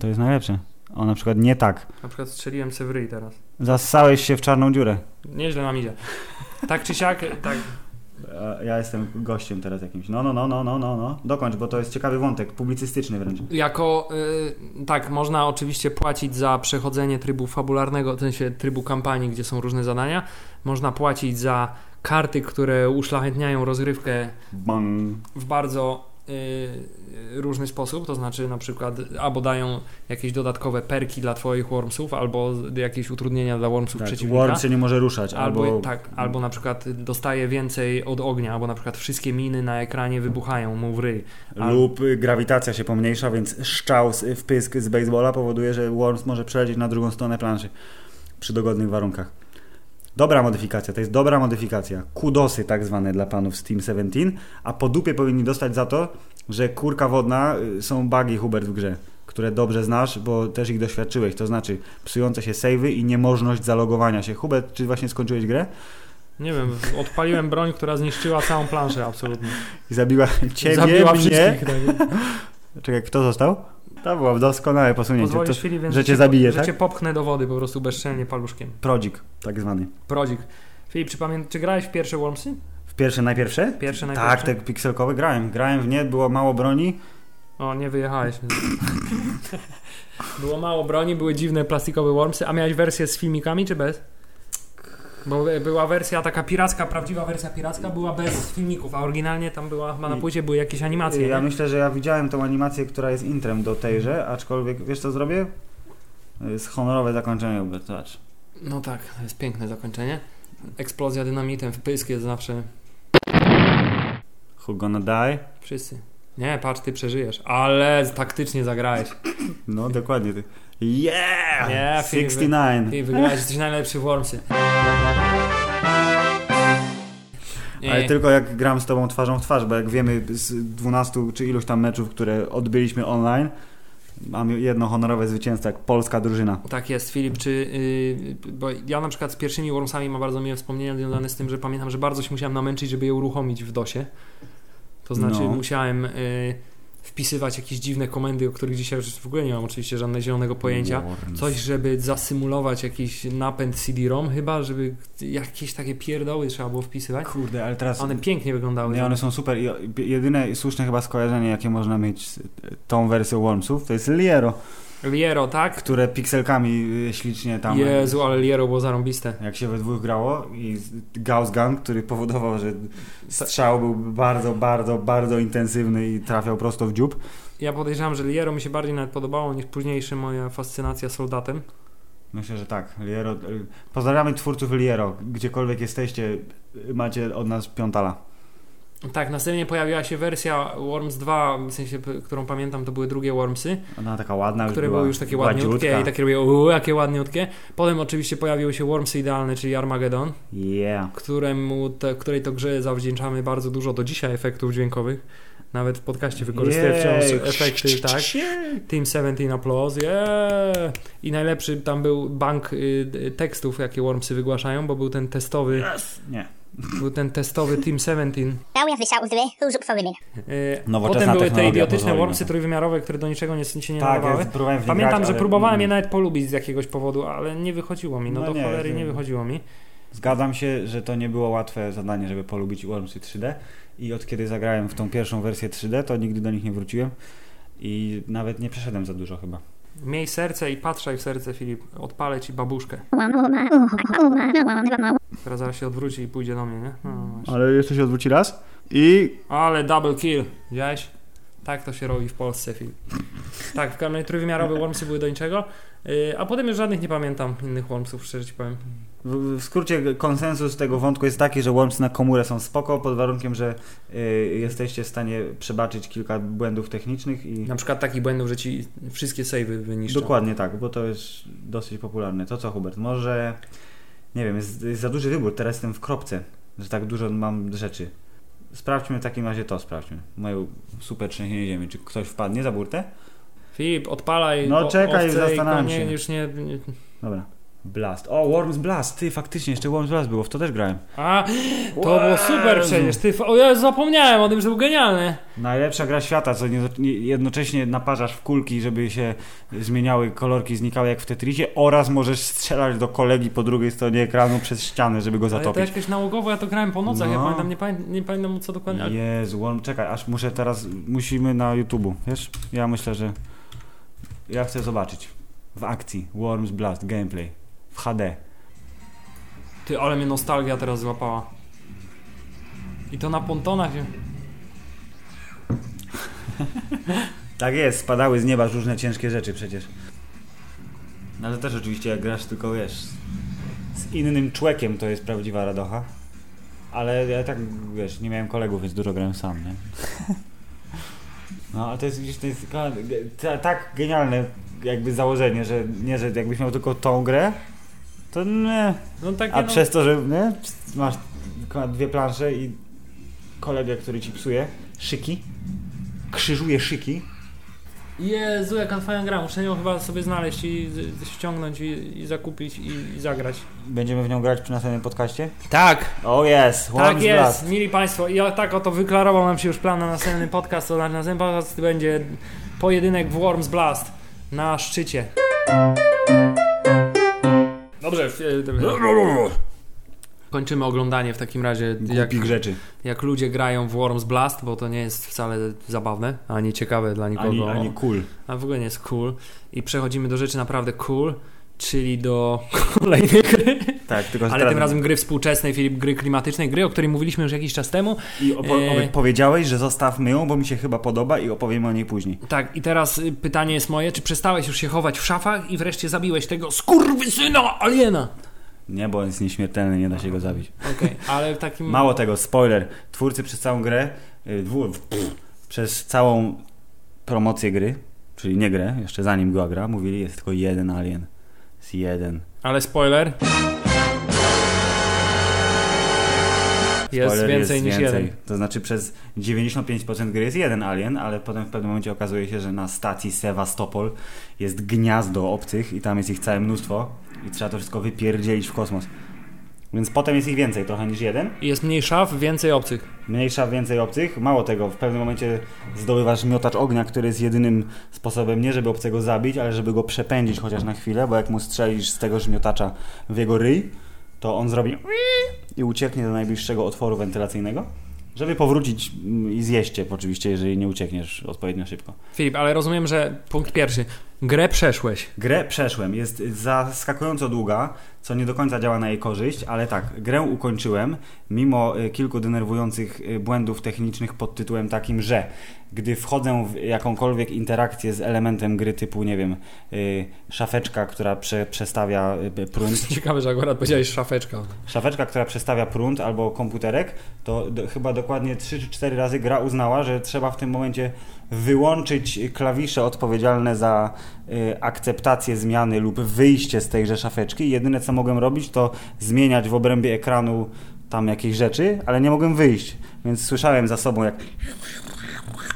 [SPEAKER 1] To jest najlepsze. O, na przykład nie tak.
[SPEAKER 2] Na przykład strzeliłem se w ryj teraz.
[SPEAKER 1] Zassałeś się w czarną dziurę.
[SPEAKER 2] Nieźle nam idzie. Tak czy siak, tak.
[SPEAKER 1] E, Ja jestem gościem teraz jakimś. No, no, no, no, no, no, no. Dokończ, bo to jest ciekawy wątek, publicystyczny wręcz.
[SPEAKER 2] Jako, y, tak, można oczywiście płacić za przechodzenie trybu fabularnego, w sensie trybu kampanii, gdzie są różne zadania. Można płacić za karty, które uszlachetniają rozgrywkę
[SPEAKER 1] Bang.
[SPEAKER 2] w bardzo y, y, różny sposób, to znaczy na przykład albo dają jakieś dodatkowe perki dla twoich wormsów, albo jakieś utrudnienia dla wormsów
[SPEAKER 1] Tak,
[SPEAKER 2] przeciwnika.
[SPEAKER 1] Worm się nie może ruszać,
[SPEAKER 2] Albo,
[SPEAKER 1] albo...
[SPEAKER 2] tak, albo na przykład dostaje więcej od ognia, albo na przykład wszystkie miny na ekranie wybuchają mu w ryj. al-
[SPEAKER 1] Lub y, grawitacja się pomniejsza, więc szczał z- w pysk z baseballa powoduje, że Worms może przelecieć na drugą stronę planszy przy dogodnych warunkach. Dobra modyfikacja, to jest dobra modyfikacja. Kudosy tak zwane dla panów z Team 17, a po dupie powinni dostać za to, że kurka wodna y, są bugi Hubert w grze, które dobrze znasz, bo też ich doświadczyłeś, to znaczy psujące się savey i niemożność zalogowania się. Hubert, czy właśnie skończyłeś grę?
[SPEAKER 2] Nie wiem, odpaliłem broń, która zniszczyła całą planszę absolutnie.
[SPEAKER 1] I zabiła *laughs* ciebie,
[SPEAKER 2] Zabiła
[SPEAKER 1] mnie?
[SPEAKER 2] wszystkich. tak.
[SPEAKER 1] Czekaj, kto został? To było doskonałe posunięcie. To
[SPEAKER 2] Pozwolisz chwili, więc
[SPEAKER 1] że cię
[SPEAKER 2] po-
[SPEAKER 1] zabije,
[SPEAKER 2] że
[SPEAKER 1] tak?
[SPEAKER 2] cię popchnę do wody po prostu bezczelnie paluszkiem.
[SPEAKER 1] prodzik tak zwany.
[SPEAKER 2] Prodzik. Filip, czy, pamię- czy grałeś w pierwsze Wormsy?
[SPEAKER 1] W pierwsze najpierwsze?
[SPEAKER 2] Pierwsze
[SPEAKER 1] Tak,
[SPEAKER 2] najpierwsze?
[SPEAKER 1] te pikselkowe grałem. Grałem w nie, było mało broni.
[SPEAKER 2] O, nie wyjechałeś. Było mało broni, były dziwne plastikowe wormsy. A miałeś wersję z filmikami, czy bez? Bo e, była wersja taka piracka, prawdziwa wersja piracka była bez filmików, a oryginalnie tam była chyba na
[SPEAKER 1] I-
[SPEAKER 2] płycie były jakieś animacje.
[SPEAKER 1] Ja
[SPEAKER 2] nie?
[SPEAKER 1] myślę, że ja widziałem tą animację, która jest intrem do tejże, aczkolwiek wiesz co zrobię? Z honorowe zakończenie, Hubert, zobacz.
[SPEAKER 2] No tak, to jest piękne zakończenie. Eksplozja dynamitem w pysk jest zawsze
[SPEAKER 1] Who gonna die?
[SPEAKER 2] wszyscy. Nie, patrz, ty przeżyjesz, ale taktycznie zagrałeś.
[SPEAKER 1] No, dokładnie. ty. Yeah!
[SPEAKER 2] Yeah, Filip.
[SPEAKER 1] 69!
[SPEAKER 2] Ty wygrałeś, jesteś najlepszy w wormsy.
[SPEAKER 1] Ale
[SPEAKER 2] Ej.
[SPEAKER 1] tylko jak gram z tobą twarzą w twarz, bo jak wiemy z 12 czy iluś tam meczów, które odbyliśmy online, mamy jedno honorowe zwycięstwo, jak polska drużyna.
[SPEAKER 2] Tak jest, Filip, czy, yy, bo ja na przykład z pierwszymi Wormsami mam bardzo miłe wspomnienia związane z tym, że pamiętam, że bardzo się musiałem namęczyć, żeby je uruchomić w DOSie. To znaczy
[SPEAKER 1] No.
[SPEAKER 2] musiałem yy, wpisywać jakieś dziwne komendy, o których dzisiaj już w ogóle nie mam oczywiście żadnego zielonego pojęcia.
[SPEAKER 1] Worms.
[SPEAKER 2] Coś, żeby zasymulować jakiś napęd CD-ROM chyba, żeby jakieś takie pierdoły trzeba było wpisywać.
[SPEAKER 1] Kurde, ale teraz...
[SPEAKER 2] One pięknie wyglądały.
[SPEAKER 1] Nie, one są super i jedyne słuszne chyba skojarzenie, jakie można mieć z tą wersją Wormsów, to jest Liero,
[SPEAKER 2] Liero, tak?
[SPEAKER 1] które pikselkami y, ślicznie tam...
[SPEAKER 2] Jezu, ale Liero było zarąbiste.
[SPEAKER 1] Jak się we dwóch grało i z- Gauss Gun, który powodował, że strzał był bardzo, bardzo, bardzo intensywny i trafiał prosto w dziób.
[SPEAKER 2] Ja podejrzewam, że Liero mi się bardziej nawet podobało niż późniejsza moja fascynacja soldatem.
[SPEAKER 1] Myślę, że tak. Liero, y, pozdrawiamy twórców Liero. Gdziekolwiek jesteście, y, macie od nas piątala.
[SPEAKER 2] Tak, następnie pojawiła się wersja Worms 2, w sensie, p- którą pamiętam, to były drugie Wormsy,
[SPEAKER 1] Ona taka ładna już
[SPEAKER 2] które
[SPEAKER 1] Tak, była,
[SPEAKER 2] były już takie
[SPEAKER 1] była
[SPEAKER 2] ładniutkie
[SPEAKER 1] dziutka.
[SPEAKER 2] i takie robiły, uuu, jakie ładniutkie. Potem oczywiście pojawiły się Wormsy idealne, czyli Armageddon,
[SPEAKER 1] Yeah.
[SPEAKER 2] któremu te, której to grze zawdzięczamy bardzo dużo do dzisiaj efektów dźwiękowych. Nawet w podcaście wykorzystuję
[SPEAKER 1] Jej.
[SPEAKER 2] wciąż efekty, tak? Team 17 Applause, yeah! I najlepszy tam był bank y, y, tekstów, jakie Wormsy wygłaszają, bo był ten testowy,
[SPEAKER 1] Nie.
[SPEAKER 2] był ten testowy Team 17
[SPEAKER 4] Now we have this out of the way. Who's up for winning?
[SPEAKER 2] E,
[SPEAKER 1] Nowoczesna
[SPEAKER 2] Potem były te
[SPEAKER 1] technologia
[SPEAKER 2] idiotyczne
[SPEAKER 1] pozwoli na
[SPEAKER 2] wormsy
[SPEAKER 1] to.
[SPEAKER 2] trójwymiarowe, które do niczego nie, się nie
[SPEAKER 1] Tak,
[SPEAKER 2] nadawały.
[SPEAKER 1] ja próbowałem w nie
[SPEAKER 2] Pamiętam,
[SPEAKER 1] grać,
[SPEAKER 2] że
[SPEAKER 1] ale-
[SPEAKER 2] próbowałem je
[SPEAKER 1] mm.
[SPEAKER 2] nawet polubić z jakiegoś powodu, ale nie wychodziło mi. No,
[SPEAKER 1] No
[SPEAKER 2] do
[SPEAKER 1] nie,
[SPEAKER 2] cholery
[SPEAKER 1] to-
[SPEAKER 2] nie wychodziło mi.
[SPEAKER 1] Zgadzam się, że to nie było łatwe zadanie, żeby polubić Wormsy 3D i od kiedy zagrałem w tą pierwszą wersję 3D, to nigdy do nich nie wróciłem i nawet nie przeszedłem za dużo chyba.
[SPEAKER 2] Miej serce i patrzaj w serce, Filip. Odpalę ci babuszkę, która zaraz się odwróci i pójdzie do mnie, nie? No, właśnie.
[SPEAKER 1] Ale jeszcze się odwróci raz i...
[SPEAKER 2] ale double kill, widziałeś? Tak to się robi w Polsce, Filip. Tak, w kamerze trójwymiarowe wormsy były do niczego, e, a potem już żadnych nie pamiętam innych wormsów, szczerze ci powiem.
[SPEAKER 1] W, w skrócie konsensus tego wątku jest taki, że Wormsy na komórę są spoko, pod warunkiem, że y, jesteście w stanie przebaczyć kilka błędów technicznych i...
[SPEAKER 2] Na przykład takich błędów, że ci wszystkie savey wyniszczą.
[SPEAKER 1] Dokładnie tak, bo to jest dosyć popularne. To co, Hubert? Może, nie wiem, jest, jest za duży wybór, teraz jestem w kropce, że tak dużo mam rzeczy. Sprawdźmy w takim razie to, sprawdźmy. Moje super trzęsienie ziemi. Czy ktoś wpadnie za burtę?
[SPEAKER 2] Filip, odpalaj.
[SPEAKER 1] No
[SPEAKER 2] o-
[SPEAKER 1] czekaj,
[SPEAKER 2] owce i
[SPEAKER 1] zastanawiam
[SPEAKER 2] konie,
[SPEAKER 1] się.
[SPEAKER 2] Już nie, nie.
[SPEAKER 1] Dobra. Blast. O, Worms Blast! Ty, faktycznie, jeszcze Worms Blast było, w to też grałem.
[SPEAKER 2] A, to było super przecież. Ty, f- o ja zapomniałem o tym, że był genialny.
[SPEAKER 1] Najlepsza gra świata, co nie, nie, jednocześnie naparzasz w kulki, żeby się zmieniały kolorki, znikały jak w Tetrisie oraz możesz strzelać do kolegi po drugiej stronie ekranu przez ścianę, żeby go
[SPEAKER 2] Ale to
[SPEAKER 1] zatopić.
[SPEAKER 2] jakieś nałogowo, ja to grałem po nocach, ja
[SPEAKER 1] No.
[SPEAKER 2] pamiętam, nie, pamię- nie pamiętam co dokładnie. ale-
[SPEAKER 1] Jezu, on, czekaj, aż muszę teraz, musimy na YouTubu, wiesz? Ja myślę, że ja chcę zobaczyć w akcji Worms Blast gameplay w HD.
[SPEAKER 2] Ty, ale mnie nostalgia teraz złapała. I to na pontonach.
[SPEAKER 1] Tak jest, spadały z nieba różne ciężkie rzeczy przecież. No ale też oczywiście jak grasz tylko, wiesz, z innym człekiem to jest prawdziwa radocha. Ale ja tak, wiesz, nie miałem kolegów, więc dużo grałem sam, nie? No, a to jest, widzisz, to jest taka- ta, tak genialne jakby założenie, że nie, że jakbyś miał tylko tą grę, to nie,
[SPEAKER 2] No takie
[SPEAKER 1] a
[SPEAKER 2] no,
[SPEAKER 1] przez to, że nie, masz tylko dwie plansze i kolegę, który ci psuje szyki, krzyżuje szyki.
[SPEAKER 2] Jezu, jaka fajna gra, muszę ją chyba sobie znaleźć i z- ściągnąć i, i zakupić i, i zagrać.
[SPEAKER 1] Będziemy w nią grać przy następnym podcaście? Oh
[SPEAKER 2] Tak,
[SPEAKER 1] O jest,
[SPEAKER 2] Tak
[SPEAKER 1] Worms
[SPEAKER 2] jest,
[SPEAKER 1] Blast.
[SPEAKER 2] mili Państwo, ja tak oto wyklarował nam się już plan na następny podcast, to nasz następny podcast będzie pojedynek w Worms Blast na szczycie. Dobrze, f- kończymy oglądanie w takim razie, jak,
[SPEAKER 1] Głupich rzeczy.
[SPEAKER 2] jak ludzie grają w Worms Blast, bo to nie jest wcale zabawne, ani ciekawe dla nikogo,
[SPEAKER 1] Ani, ani cool.
[SPEAKER 2] a w ogóle nie jest cool. I przechodzimy do rzeczy naprawdę cool, czyli do *laughs* kolejnej gry.
[SPEAKER 1] Tak, tylko że
[SPEAKER 2] Ale
[SPEAKER 1] teraz-
[SPEAKER 2] tym razem gry współczesnej, Filip, gry klimatycznej, gry, o której mówiliśmy już jakiś czas temu.
[SPEAKER 1] I opo-
[SPEAKER 2] e-
[SPEAKER 1] powiedziałeś, że zostawmy ją, bo mi się chyba podoba i opowiemy o niej później.
[SPEAKER 2] Tak, i teraz y, pytanie jest moje, czy przestałeś już się chować w szafach i wreszcie zabiłeś tego skurwysyna aliena?
[SPEAKER 1] Nie, bo on jest nieśmiertelny, nie da się go zabić.
[SPEAKER 2] Okej, *laughs* ale w takim...
[SPEAKER 1] Mało tego, spoiler. Twórcy przez całą grę, y, dwu, pff, przez całą promocję gry, czyli nie grę, jeszcze zanim była gra, mówili, jest tylko jeden alien. Jest jeden.
[SPEAKER 2] Ale spoiler... Jest
[SPEAKER 1] Spoiler
[SPEAKER 2] więcej niż jeden.
[SPEAKER 1] To znaczy przez 95% gry jest jeden alien, ale potem w pewnym momencie okazuje się, że na stacji Sewastopol jest gniazdo obcych i tam jest ich całe mnóstwo i trzeba to wszystko wypierdzielić w kosmos. Więc potem jest ich więcej trochę niż jeden.
[SPEAKER 2] I Jest mniej szaf, więcej obcych.
[SPEAKER 1] Mniejsza, więcej obcych. Mało tego, w pewnym momencie zdobywasz miotacz ognia, który jest jedynym sposobem nie żeby obcego zabić, ale żeby go przepędzić chociaż na chwilę, bo jak mu strzelisz z tegoż miotacza w jego ryj, to on zrobi i ucieknie do najbliższego otworu wentylacyjnego, żeby powrócić mm, i zjeść cię oczywiście, jeżeli nie uciekniesz odpowiednio szybko.
[SPEAKER 2] Filip, ale rozumiem, że punkt pierwszy. Grę przeszłeś. *laughs*
[SPEAKER 1] Grę przeszłem, jest zaskakująco długa, co nie do końca działa na jej korzyść, ale tak, grę ukończyłem mimo y, kilku denerwujących y, błędów technicznych pod tytułem takim, że gdy wchodzę w jakąkolwiek interakcję z elementem gry typu, nie wiem, y, szafeczka, która prze, przestawia y, prąd,
[SPEAKER 2] Ciekawe, że akurat powiedziałeś szafeczka.
[SPEAKER 1] szafeczka, która przestawia prąd albo komputerek, to do, chyba dokładnie 3 czy 4 razy gra uznała, że trzeba w tym momencie wyłączyć klawisze odpowiedzialne za y, akceptację zmiany lub wyjście z tejże szafeczki. Jedyne co mogłem robić to zmieniać w obrębie ekranu tam jakieś rzeczy, ale nie mogłem wyjść, więc słyszałem za sobą jak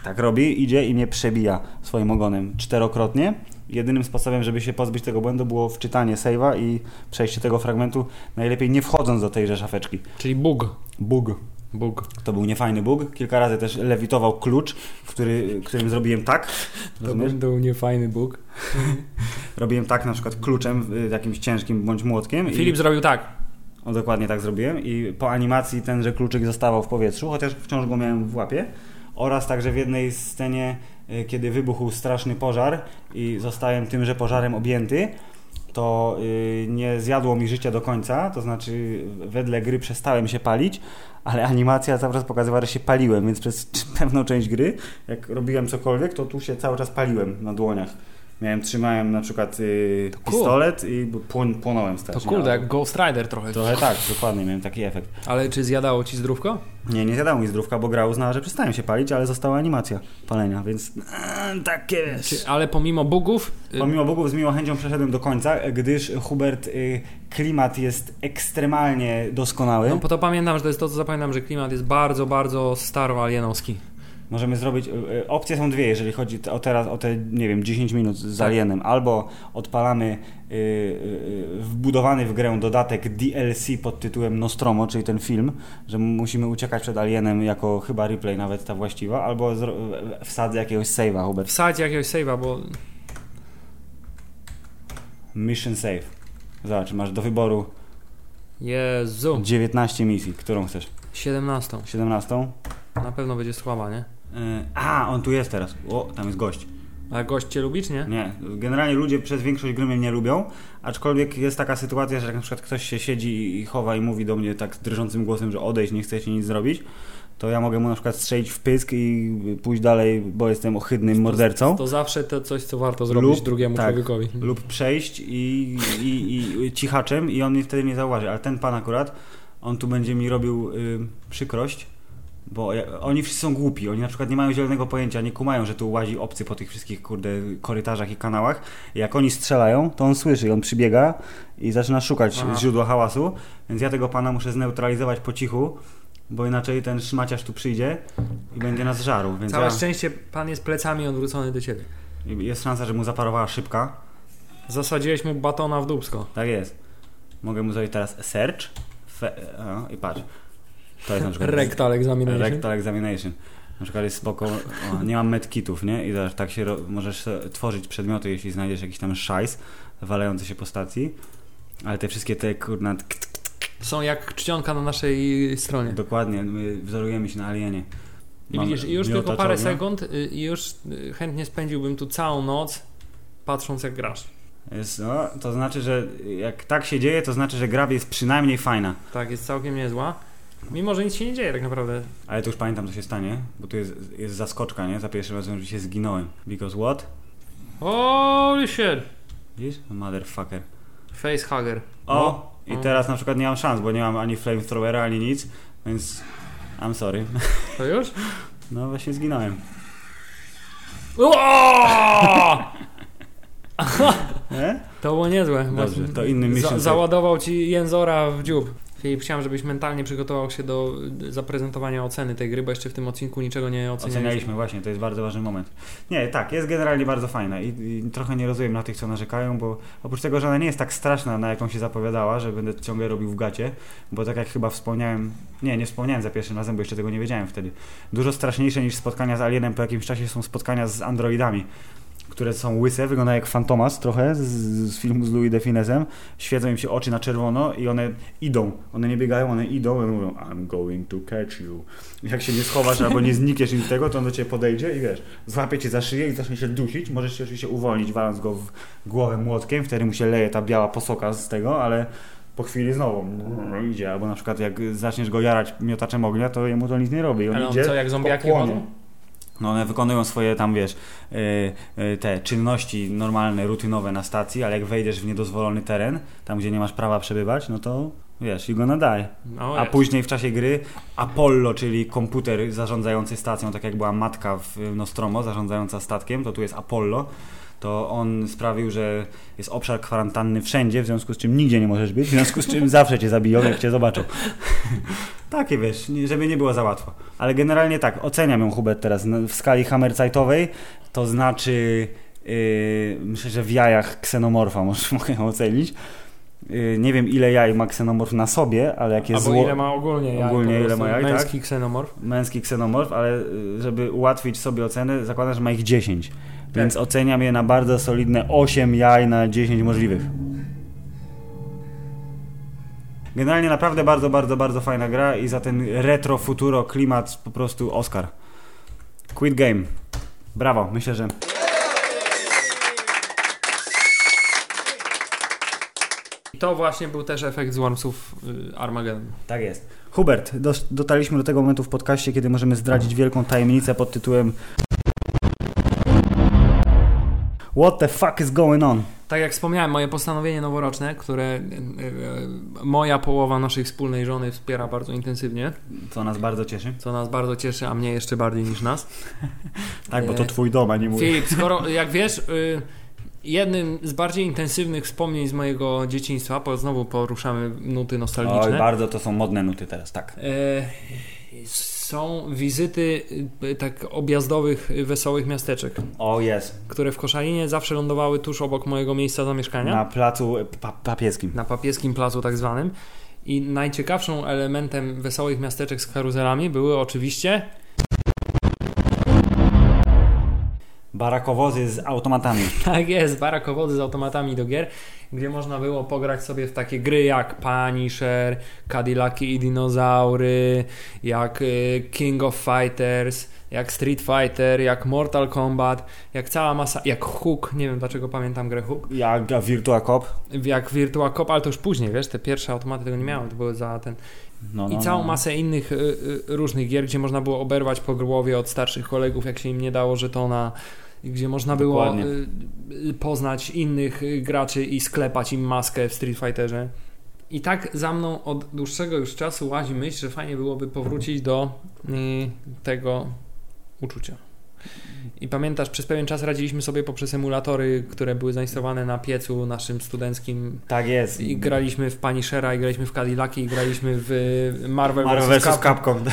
[SPEAKER 1] tak robi, idzie i mnie przebija swoim ogonem czterokrotnie. Jedynym sposobem, żeby się pozbyć tego błędu było wczytanie save'a i przejście tego fragmentu, najlepiej nie wchodząc do tejże szafeczki.
[SPEAKER 2] Czyli Bóg.
[SPEAKER 1] Bóg.
[SPEAKER 2] Bóg.
[SPEAKER 1] To był niefajny bóg. Kilka razy też lewitował klucz, który, którym zrobiłem tak. Rozumiesz?
[SPEAKER 2] był niefajny Bóg.
[SPEAKER 1] Robiłem tak na przykład kluczem y, jakimś ciężkim bądź młotkiem. i-
[SPEAKER 2] Filip zrobił tak.
[SPEAKER 1] O, dokładnie tak zrobiłem i po animacji tenże kluczyk zostawał w powietrzu, chociaż wciąż go miałem w łapie. Oraz także w jednej scenie, y, kiedy wybuchł straszny pożar i zostałem tymże pożarem objęty, to y, nie zjadło mi życia do końca, to znaczy wedle gry przestałem się palić, ale animacja cały czas pokazywała, że się paliłem, więc przez *laughs* pewną część gry, jak robiłem cokolwiek, to tu się cały czas paliłem na dłoniach. Miałem, trzymałem na przykład y,
[SPEAKER 2] cool.
[SPEAKER 1] pistolet i płon- płonąłem
[SPEAKER 2] To
[SPEAKER 1] strasznie.
[SPEAKER 2] kurde, jak Ghost Rider Znaczy, no. trochę.
[SPEAKER 1] Trochę tak, dokładnie, miałem taki efekt.
[SPEAKER 2] Ale czy zjadało ci zdrówko?
[SPEAKER 1] Nie, nie zjadał mi zdrówka, bo gra uznała, że przestałem się palić, ale została animacja palenia, więc eee, takie wiesz.
[SPEAKER 2] Czy, ale pomimo bugów, y,
[SPEAKER 1] Pomimo bogów z miłą chęcią przeszedłem do końca, gdyż Hubert, y, klimat jest ekstremalnie doskonały.
[SPEAKER 2] no bo to pamiętam, że to jest to, co zapamiętam, że klimat jest bardzo, bardzo staro-alienowski.
[SPEAKER 1] Możemy zrobić. y, y, Opcje są dwie, jeżeli chodzi t- o teraz, o te, nie wiem, 10 minut z
[SPEAKER 2] Tak.
[SPEAKER 1] Alienem. Albo odpalamy y, y, y, wbudowany w grę dodatek DLC pod tytułem Nostromo, czyli ten film, że m- musimy uciekać przed Alienem jako chyba replay, nawet ta właściwa, albo zro- y, wsadzę jakiegoś save'a, Hubert.
[SPEAKER 2] Wsadź jakiegoś save'a, bo
[SPEAKER 1] Mission save. Zobacz, masz do wyboru
[SPEAKER 2] Jezu,
[SPEAKER 1] 19 misji. Którą chcesz?
[SPEAKER 2] 17.
[SPEAKER 1] 17?
[SPEAKER 2] Na pewno będzie słaba, nie?
[SPEAKER 1] Y, a, on tu jest teraz. O, tam jest gość.
[SPEAKER 2] A gość cię lubi, czy nie?
[SPEAKER 1] Nie, generalnie ludzie przez większość gry mnie nie lubią, aczkolwiek jest taka sytuacja, że jak na przykład ktoś się siedzi i- i chowa i mówi do mnie tak drżącym głosem, że odejść, nie chcecie nic zrobić, to ja mogę mu na przykład strzelić w pysk i pójść dalej, bo jestem ohydnym mordercą.
[SPEAKER 2] To zawsze to coś, co warto zrobić
[SPEAKER 1] Lub-
[SPEAKER 2] drugiemu
[SPEAKER 1] tak.
[SPEAKER 2] człowiekowi.
[SPEAKER 1] Lub przejść i, i, i cichaczem i on mnie wtedy nie zauważy, ale ten pan akurat, on tu będzie mi robił y, przykrość. Bo ja, oni wszyscy są głupi, oni na przykład nie mają zielonego pojęcia, nie kumają, że tu łazi obcy po tych wszystkich kurde korytarzach i kanałach. Jak oni strzelają, to on słyszy i on przybiega i zaczyna szukać
[SPEAKER 2] Aha.
[SPEAKER 1] źródła hałasu, więc ja tego pana muszę zneutralizować po cichu, bo inaczej ten szmaciarz tu przyjdzie i będzie nas żarł. Więc
[SPEAKER 2] Całe
[SPEAKER 1] ja,
[SPEAKER 2] szczęście pan jest plecami odwrócony do ciebie.
[SPEAKER 1] jest szansa, że mu zaparowała szybka,
[SPEAKER 2] Zasadziłeś mu batona w dubsko.
[SPEAKER 1] Tak jest. Mogę mu zrobić teraz search fe, a, i patrz. To jest na przykład
[SPEAKER 2] *laughs* Rectal examination.
[SPEAKER 1] rectal examination. Na przykład jest spoko, o, nie mam medkitów, nie? I zobacz, tak się ro, możesz e, tworzyć przedmioty, jeśli znajdziesz jakiś tam szajs walający się po stacji. Ale te wszystkie te kurna, tk, tk,
[SPEAKER 2] Są jak czcionka na naszej stronie.
[SPEAKER 1] dokładnie, my wzorujemy się na alienie.
[SPEAKER 2] Tak. I
[SPEAKER 1] Mam
[SPEAKER 2] widzisz, i już
[SPEAKER 1] miotacz
[SPEAKER 2] tylko parę
[SPEAKER 1] ognia.
[SPEAKER 2] sekund y, i już y, chętnie spędziłbym tu całą noc patrząc jak grasz.
[SPEAKER 1] Jest, no, to znaczy, że jak tak się dzieje, to znaczy, że gra jest przynajmniej fajna.
[SPEAKER 2] Tak, jest całkiem niezła. Mimo, że nic się nie dzieje tak naprawdę.
[SPEAKER 1] Ale to już pamiętam, co się stanie, bo tu jest, jest zaskoczka, nie? Za pierwszym razem, że się zginąłem. Because what?
[SPEAKER 2] Holy shit!
[SPEAKER 1] Widzisz? Motherfucker.
[SPEAKER 2] Facehugger.
[SPEAKER 1] O! I
[SPEAKER 2] no.
[SPEAKER 1] teraz na przykład nie mam szans, bo nie mam ani flamethrowera, ani nic, więc... I'm sorry. *laughs*
[SPEAKER 2] To już?
[SPEAKER 1] No właśnie zginąłem.
[SPEAKER 2] Oooo!
[SPEAKER 1] Nie?
[SPEAKER 2] To było niezłe.
[SPEAKER 1] Dobrze,
[SPEAKER 2] Bo-
[SPEAKER 1] to inny mission
[SPEAKER 2] Za,
[SPEAKER 1] save.
[SPEAKER 2] załadował ci jęzora w dziób. Filip, chciałem, żebyś mentalnie przygotował się do y, zaprezentowania oceny tej gry, bo jeszcze w tym odcinku niczego nie ocenialiśmy.
[SPEAKER 1] Ocenialiśmy właśnie, to jest bardzo ważny moment. Nie, tak, jest generalnie bardzo fajna i, i trochę nie rozumiem na tych, co narzekają, bo oprócz tego, że ona nie jest tak straszna, na jaką się zapowiadała, że będę ciągle robił w gacie, bo tak jak chyba wspomniałem, nie, nie wspomniałem za pierwszym razem, bo jeszcze tego nie wiedziałem wtedy. Dużo straszniejsze niż spotkania z Alienem po jakimś czasie są spotkania z androidami, które są łyse, wyglądają jak Fantomas trochę z, z filmu z Louis de Finesem, świecą im się oczy na czerwono i one idą, one nie biegają, one idą i mówią I'm going to catch you. Jak się nie schowasz albo nie znikniesz im z tego, to on do ciebie podejdzie i wiesz, złapie cię za szyję i zacznie się dusić, możesz się oczywiście uwolnić, waląc go w głowę młotkiem, wtedy mu się leje ta biała posoka z tego, ale po chwili znowu mm, idzie, albo na przykład jak zaczniesz go jarać miotaczem ognia, to jemu to nic nie robi. On
[SPEAKER 2] Ale on
[SPEAKER 1] idzie,
[SPEAKER 2] co, jak zombiaki
[SPEAKER 1] płonie.
[SPEAKER 2] chodzą?
[SPEAKER 1] No one wykonują swoje tam, wiesz, yy, yy, te czynności normalne, rutynowe na stacji, ale jak wejdziesz w niedozwolony teren, tam gdzie nie masz prawa przebywać, no to wiesz, i go nadaj.
[SPEAKER 2] No,
[SPEAKER 1] A
[SPEAKER 2] jest.
[SPEAKER 1] później w czasie gry Apollo, czyli komputer zarządzający stacją, tak jak była matka w Nostromo zarządzająca statkiem, to tu jest Apollo. To on sprawił, że jest obszar kwarantanny wszędzie, w związku z czym nigdzie nie możesz być, w związku z czym zawsze cię zabiją, jak cię zobaczą. Takie wiesz, nie- żeby nie było za łatwo. Ale generalnie tak, oceniam ją Hubert teraz no, w skali hammerzeitowej, to znaczy yy, myślę, że w jajach ksenomorfa *laughs* może, mogę ją ocenić. Yy, nie wiem ile jaj ma ksenomorf na sobie, ale jakie
[SPEAKER 2] Albo
[SPEAKER 1] zło...
[SPEAKER 2] ile ma ogólnie jaj,
[SPEAKER 1] Ogólnie
[SPEAKER 2] po
[SPEAKER 1] ile
[SPEAKER 2] prostu.
[SPEAKER 1] ma jaj, tak?
[SPEAKER 2] Męski ksenomorf.
[SPEAKER 1] męski ksenomorf, ale y, żeby ułatwić sobie ocenę, zakładam, że ma ich 10. Więc oceniam je na bardzo solidne 8 jaj na 10 możliwych. Generalnie naprawdę bardzo, bardzo, bardzo fajna gra i za ten retro, futuro, klimat po prostu Oscar. Quit game. Brawo, myślę, że
[SPEAKER 2] I to właśnie był też efekt z Wormsów y, Armageddon.
[SPEAKER 1] tak jest. Hubert, dos- dotarliśmy do tego momentu w podcaście, kiedy możemy zdradzić wielką tajemnicę pod tytułem What the fuck is going on?
[SPEAKER 2] Tak jak wspomniałem, moje postanowienie noworoczne, które y, y, moja połowa naszej wspólnej żony wspiera bardzo intensywnie,
[SPEAKER 1] Co nas bardzo cieszy.
[SPEAKER 2] co nas bardzo cieszy, a mnie jeszcze bardziej niż nas.
[SPEAKER 1] Tak, bo to
[SPEAKER 2] Nie.
[SPEAKER 1] twój dom, a nie mój.
[SPEAKER 2] Filip, skoro jak wiesz, y, jednym z bardziej intensywnych wspomnień z mojego dzieciństwa, bo znowu poruszamy nuty nostalgiczne,
[SPEAKER 1] bardzo to są modne nuty teraz, tak.
[SPEAKER 2] y, są wizyty y, tak objazdowych, y, wesołych miasteczek,
[SPEAKER 1] O jest,
[SPEAKER 2] które w Koszalinie zawsze lądowały tuż obok mojego miejsca zamieszkania.
[SPEAKER 1] na placu e, pa papieskim.
[SPEAKER 2] na papieskim placu tak zwanym. I najciekawszą elementem wesołych miasteczek z karuzelami były oczywiście *laughs*
[SPEAKER 1] Barakowozy z automatami.
[SPEAKER 2] tak jest, barakowody z automatami do gier, gdzie można było pograć sobie w takie gry jak Punisher, Cadillaki i dinozaury, jak y, King of Fighters, jak Street Fighter, jak Mortal Kombat, jak cała masa, jak Hook, nie wiem dlaczego pamiętam grę Hook,
[SPEAKER 1] Jak Virtua Cop.
[SPEAKER 2] jak Virtua Cop, ale to już później, wiesz, te pierwsze automaty tego nie miały, to były za ten
[SPEAKER 1] No,
[SPEAKER 2] I
[SPEAKER 1] no,
[SPEAKER 2] całą
[SPEAKER 1] no.
[SPEAKER 2] masę innych y, y, różnych gier, gdzie można było oberwać po głowie od starszych kolegów, jak się im nie dało żetona, i gdzie można było
[SPEAKER 1] Dokładnie.
[SPEAKER 2] y, y, poznać innych y, graczy i sklepać im maskę w Street Fighterze. I tak za mną od dłuższego już czasu łazi myśl, że fajnie byłoby powrócić do y, tego uczucia. I pamiętasz, przez pewien czas radziliśmy sobie poprzez emulatory, które były zainstalowane na piecu naszym studenckim
[SPEAKER 1] Tak jest.
[SPEAKER 2] i graliśmy w Punishera, i graliśmy w Cadillaki, i graliśmy w y, Marvel,
[SPEAKER 1] Marvel vs.
[SPEAKER 2] Capcom.
[SPEAKER 1] Capcom. *laughs*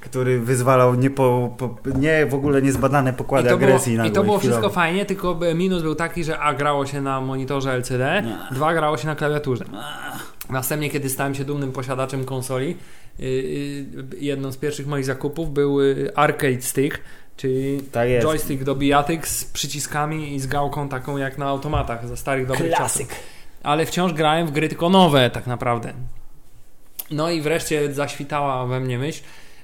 [SPEAKER 1] który wyzwalał nie, po, po, nie w ogóle niezbadane
[SPEAKER 2] I
[SPEAKER 1] pokłady
[SPEAKER 2] to było,
[SPEAKER 1] agresji na
[SPEAKER 2] i to było wszystko fajnie, tylko by- minus był taki, że A grało się na monitorze LCD,
[SPEAKER 1] Ach.
[SPEAKER 2] dwa grało się na klawiaturze. Następnie, kiedy stałem się dumnym posiadaczem konsoli, y, y, jedną z pierwszych moich zakupów był y, Arcade Stick, czyli
[SPEAKER 1] Tak jest.
[SPEAKER 2] joystick do bijatyk z przyciskami i z gałką taką jak na automatach ze starych dobrych czasów. ale wciąż grałem w gry tylko nowe, tak naprawdę. No i wreszcie zaświtała we mnie myśl,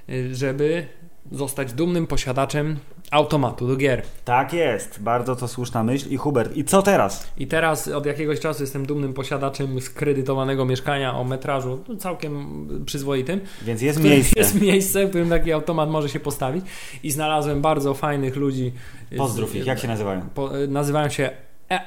[SPEAKER 2] y, żeby zostać dumnym posiadaczem automatu do gier.
[SPEAKER 1] Tak jest. Bardzo to słuszna myśl. I Hubert, i co teraz?
[SPEAKER 2] I teraz od jakiegoś czasu jestem dumnym posiadaczem skredytowanego mieszkania o metrażu no, całkiem przyzwoitym.
[SPEAKER 1] Więc jest
[SPEAKER 2] w którym
[SPEAKER 1] miejsce.
[SPEAKER 2] Jest miejsce, w którym taki automat może się postawić. I znalazłem bardzo fajnych ludzi. y,
[SPEAKER 1] Pozdrów
[SPEAKER 2] z-
[SPEAKER 1] ich. Jak się nazywają?
[SPEAKER 2] po, y, nazywają się e-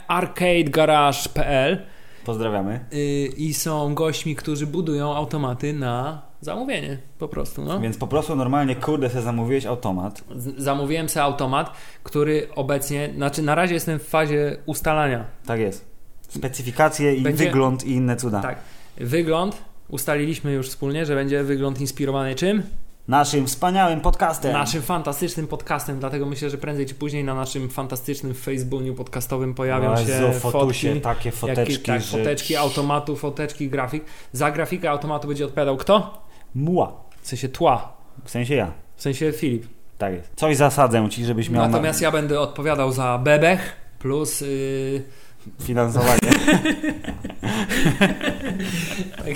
[SPEAKER 2] arcadegarage.pl
[SPEAKER 1] Pozdrawiamy.
[SPEAKER 2] Y, i są gośćmi, którzy budują automaty na zamówienie po prostu. No.
[SPEAKER 1] Więc po prostu normalnie, kurde, se zamówiłeś automat.
[SPEAKER 2] Z- Zamówiłem sobie automat, który obecnie, znaczy na razie jestem w fazie ustalania.
[SPEAKER 1] Tak jest. Specyfikacje i
[SPEAKER 2] Będzie-
[SPEAKER 1] wygląd i inne cuda.
[SPEAKER 2] Tak. Wygląd, ustaliliśmy już wspólnie, że będzie wygląd inspirowany czym?
[SPEAKER 1] Naszym wspaniałym podcastem.
[SPEAKER 2] Naszym fantastycznym podcastem, dlatego myślę, że prędzej czy później na naszym fantastycznym Facebooku podcastowym pojawią
[SPEAKER 1] No, Jezu,
[SPEAKER 2] się
[SPEAKER 1] fotusie,
[SPEAKER 2] fotki,
[SPEAKER 1] takie foteczki,
[SPEAKER 2] jakie- tak,
[SPEAKER 1] że...
[SPEAKER 2] foteczki automatu, foteczki grafik. Za grafikę automatu będzie odpowiadał kto?
[SPEAKER 1] Muła.
[SPEAKER 2] W sensie tła,
[SPEAKER 1] W sensie ja.
[SPEAKER 2] w sensie Filip.
[SPEAKER 1] Tak jest. Coś zasadzę ci, żebyś miał
[SPEAKER 2] Natomiast ja będę odpowiadał za bebech plus yy, *laughs*
[SPEAKER 1] na finansowanie.
[SPEAKER 2] tak,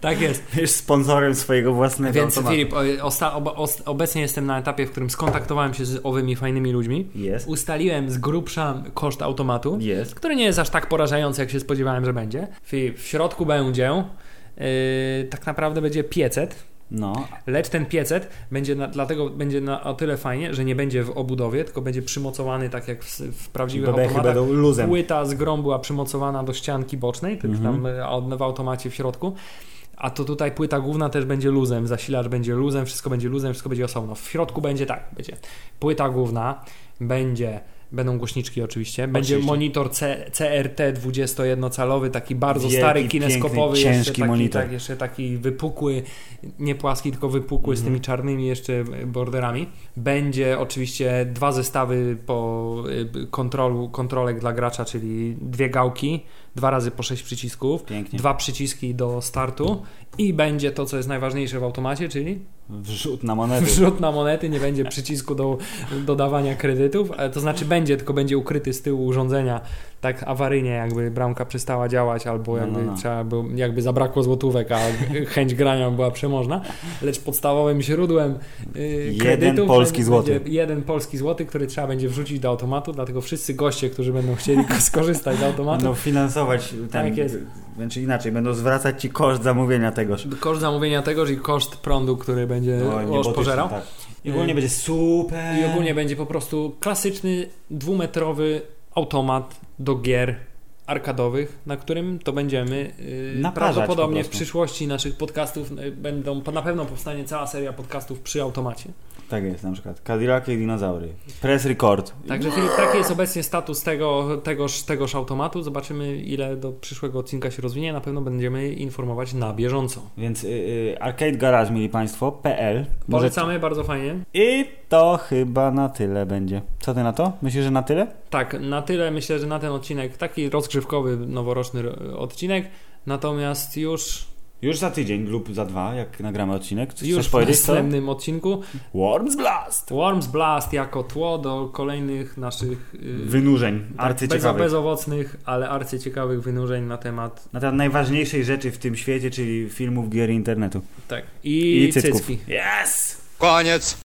[SPEAKER 2] tak jest.
[SPEAKER 1] Wiesz, sponsorem swojego własnego
[SPEAKER 2] Więc
[SPEAKER 1] automatu.
[SPEAKER 2] Filip, o- osta- oba- os- obecnie jestem na etapie, w którym skontaktowałem się z owymi fajnymi ludźmi.
[SPEAKER 1] Jest.
[SPEAKER 2] Ustaliłem z grubsza koszt automatu,
[SPEAKER 1] Jest.
[SPEAKER 2] który nie jest aż tak porażający, jak się spodziewałem, że będzie. Filip, w środku będzie yy, tak naprawdę będzie 500,
[SPEAKER 1] No.
[SPEAKER 2] lecz ten 500 będzie na, dlatego będzie na o tyle fajnie, że nie będzie w obudowie, tylko będzie przymocowany tak jak w, w prawdziwych
[SPEAKER 1] Bebechy
[SPEAKER 2] automatach.
[SPEAKER 1] będą luzem.
[SPEAKER 2] Płyta z grą była przymocowana do ścianki bocznej, tylko
[SPEAKER 1] Mhm.
[SPEAKER 2] tam e, od- w automacie w środku. A to tutaj płyta główna też będzie luzem, zasilacz będzie luzem, wszystko będzie luzem, wszystko będzie osobno. W środku będzie tak, będzie płyta główna, będzie będą głośniczki oczywiście, będzie
[SPEAKER 1] Oczywiście.
[SPEAKER 2] monitor C, CRT 21-calowy, taki bardzo
[SPEAKER 1] Wielki,
[SPEAKER 2] stary, kineskopowy,
[SPEAKER 1] piękny,
[SPEAKER 2] jeszcze,
[SPEAKER 1] ciężki
[SPEAKER 2] taki,
[SPEAKER 1] monitor.
[SPEAKER 2] Tak, jeszcze taki wypukły, nie płaski, tylko wypukły z
[SPEAKER 1] Mhm.
[SPEAKER 2] tymi czarnymi jeszcze borderami. Będzie oczywiście dwa zestawy po y, kontrolu, kontrolek dla gracza, czyli dwie gałki, dwa razy po sześć przycisków,
[SPEAKER 1] Pięknie.
[SPEAKER 2] dwa przyciski do startu i będzie to, co jest najważniejsze w automacie, czyli
[SPEAKER 1] Wrzut na monety.
[SPEAKER 2] wrzut na monety, nie będzie przycisku do dodawania kredytów, e, to znaczy będzie, tylko będzie ukryty z tyłu urządzenia tak awaryjnie, jakby bramka przestała działać albo
[SPEAKER 1] No,
[SPEAKER 2] jakby,
[SPEAKER 1] no, no.
[SPEAKER 2] Trzeba było, jakby zabrakło złotówek, a *laughs* g- chęć grania była przemożna, lecz podstawowym źródłem y,
[SPEAKER 1] Jeden
[SPEAKER 2] kredytów
[SPEAKER 1] polski
[SPEAKER 2] będzie-
[SPEAKER 1] złoty.
[SPEAKER 2] będzie jeden polski złoty, który trzeba będzie wrzucić do automatu, dlatego wszyscy goście, którzy będą chcieli *laughs* skorzystać z automatu,
[SPEAKER 1] No finansować ten,
[SPEAKER 2] Tak jest.
[SPEAKER 1] Znaczy inaczej, będą zwracać ci koszt zamówienia tegoż.
[SPEAKER 2] koszt zamówienia tego, czyli koszt prądu, który będzie
[SPEAKER 1] No,
[SPEAKER 2] no,
[SPEAKER 1] niebotyczny,
[SPEAKER 2] pożerał.
[SPEAKER 1] Tak. I ogólnie
[SPEAKER 2] Y,
[SPEAKER 1] będzie super.
[SPEAKER 2] I ogólnie będzie po prostu klasyczny, dwumetrowy automat do gier arkadowych, na którym to będziemy yy,
[SPEAKER 1] Naparzać po
[SPEAKER 2] prawdopodobnie w
[SPEAKER 1] prostu.
[SPEAKER 2] przyszłości naszych podcastów yy, będą, po- na pewno powstanie cała seria podcastów przy automacie.
[SPEAKER 1] Tak jest, na przykład. Cadillac i dinozaury. Press record.
[SPEAKER 2] Także Filip, taki jest obecnie status tego, tegoż, tegoż automatu. Zobaczymy ile do przyszłego odcinka się rozwinie. Na pewno będziemy informować na bieżąco.
[SPEAKER 1] Więc y, y, Arcade Garage, mieli Państwo, PL. Możecie-
[SPEAKER 2] Polecamy, bardzo fajnie.
[SPEAKER 1] I to chyba na tyle będzie. Co ty na to? Myślisz, że na tyle?
[SPEAKER 2] Tak, na tyle myślę, że na ten odcinek, taki rozgrzewkowy, noworoczny ro- odcinek. Natomiast już
[SPEAKER 1] Już za tydzień lub za dwa, jak nagramy odcinek. Coś
[SPEAKER 2] już
[SPEAKER 1] chcesz
[SPEAKER 2] w
[SPEAKER 1] powiedzieć, co?
[SPEAKER 2] następnym odcinku.
[SPEAKER 1] Worms Blast!
[SPEAKER 2] Worms Blast jako tło do kolejnych naszych yy,
[SPEAKER 1] Wynurzeń
[SPEAKER 2] tak, bezo-
[SPEAKER 1] arcyciekawych.
[SPEAKER 2] bezowocnych, ale arcyciekawych wynurzeń na temat
[SPEAKER 1] Na temat najważniejszej rzeczy w tym świecie, czyli filmów, gier i internetu.
[SPEAKER 2] tak i,
[SPEAKER 1] cycków.
[SPEAKER 2] cycki.
[SPEAKER 1] Yes!
[SPEAKER 5] Koniec.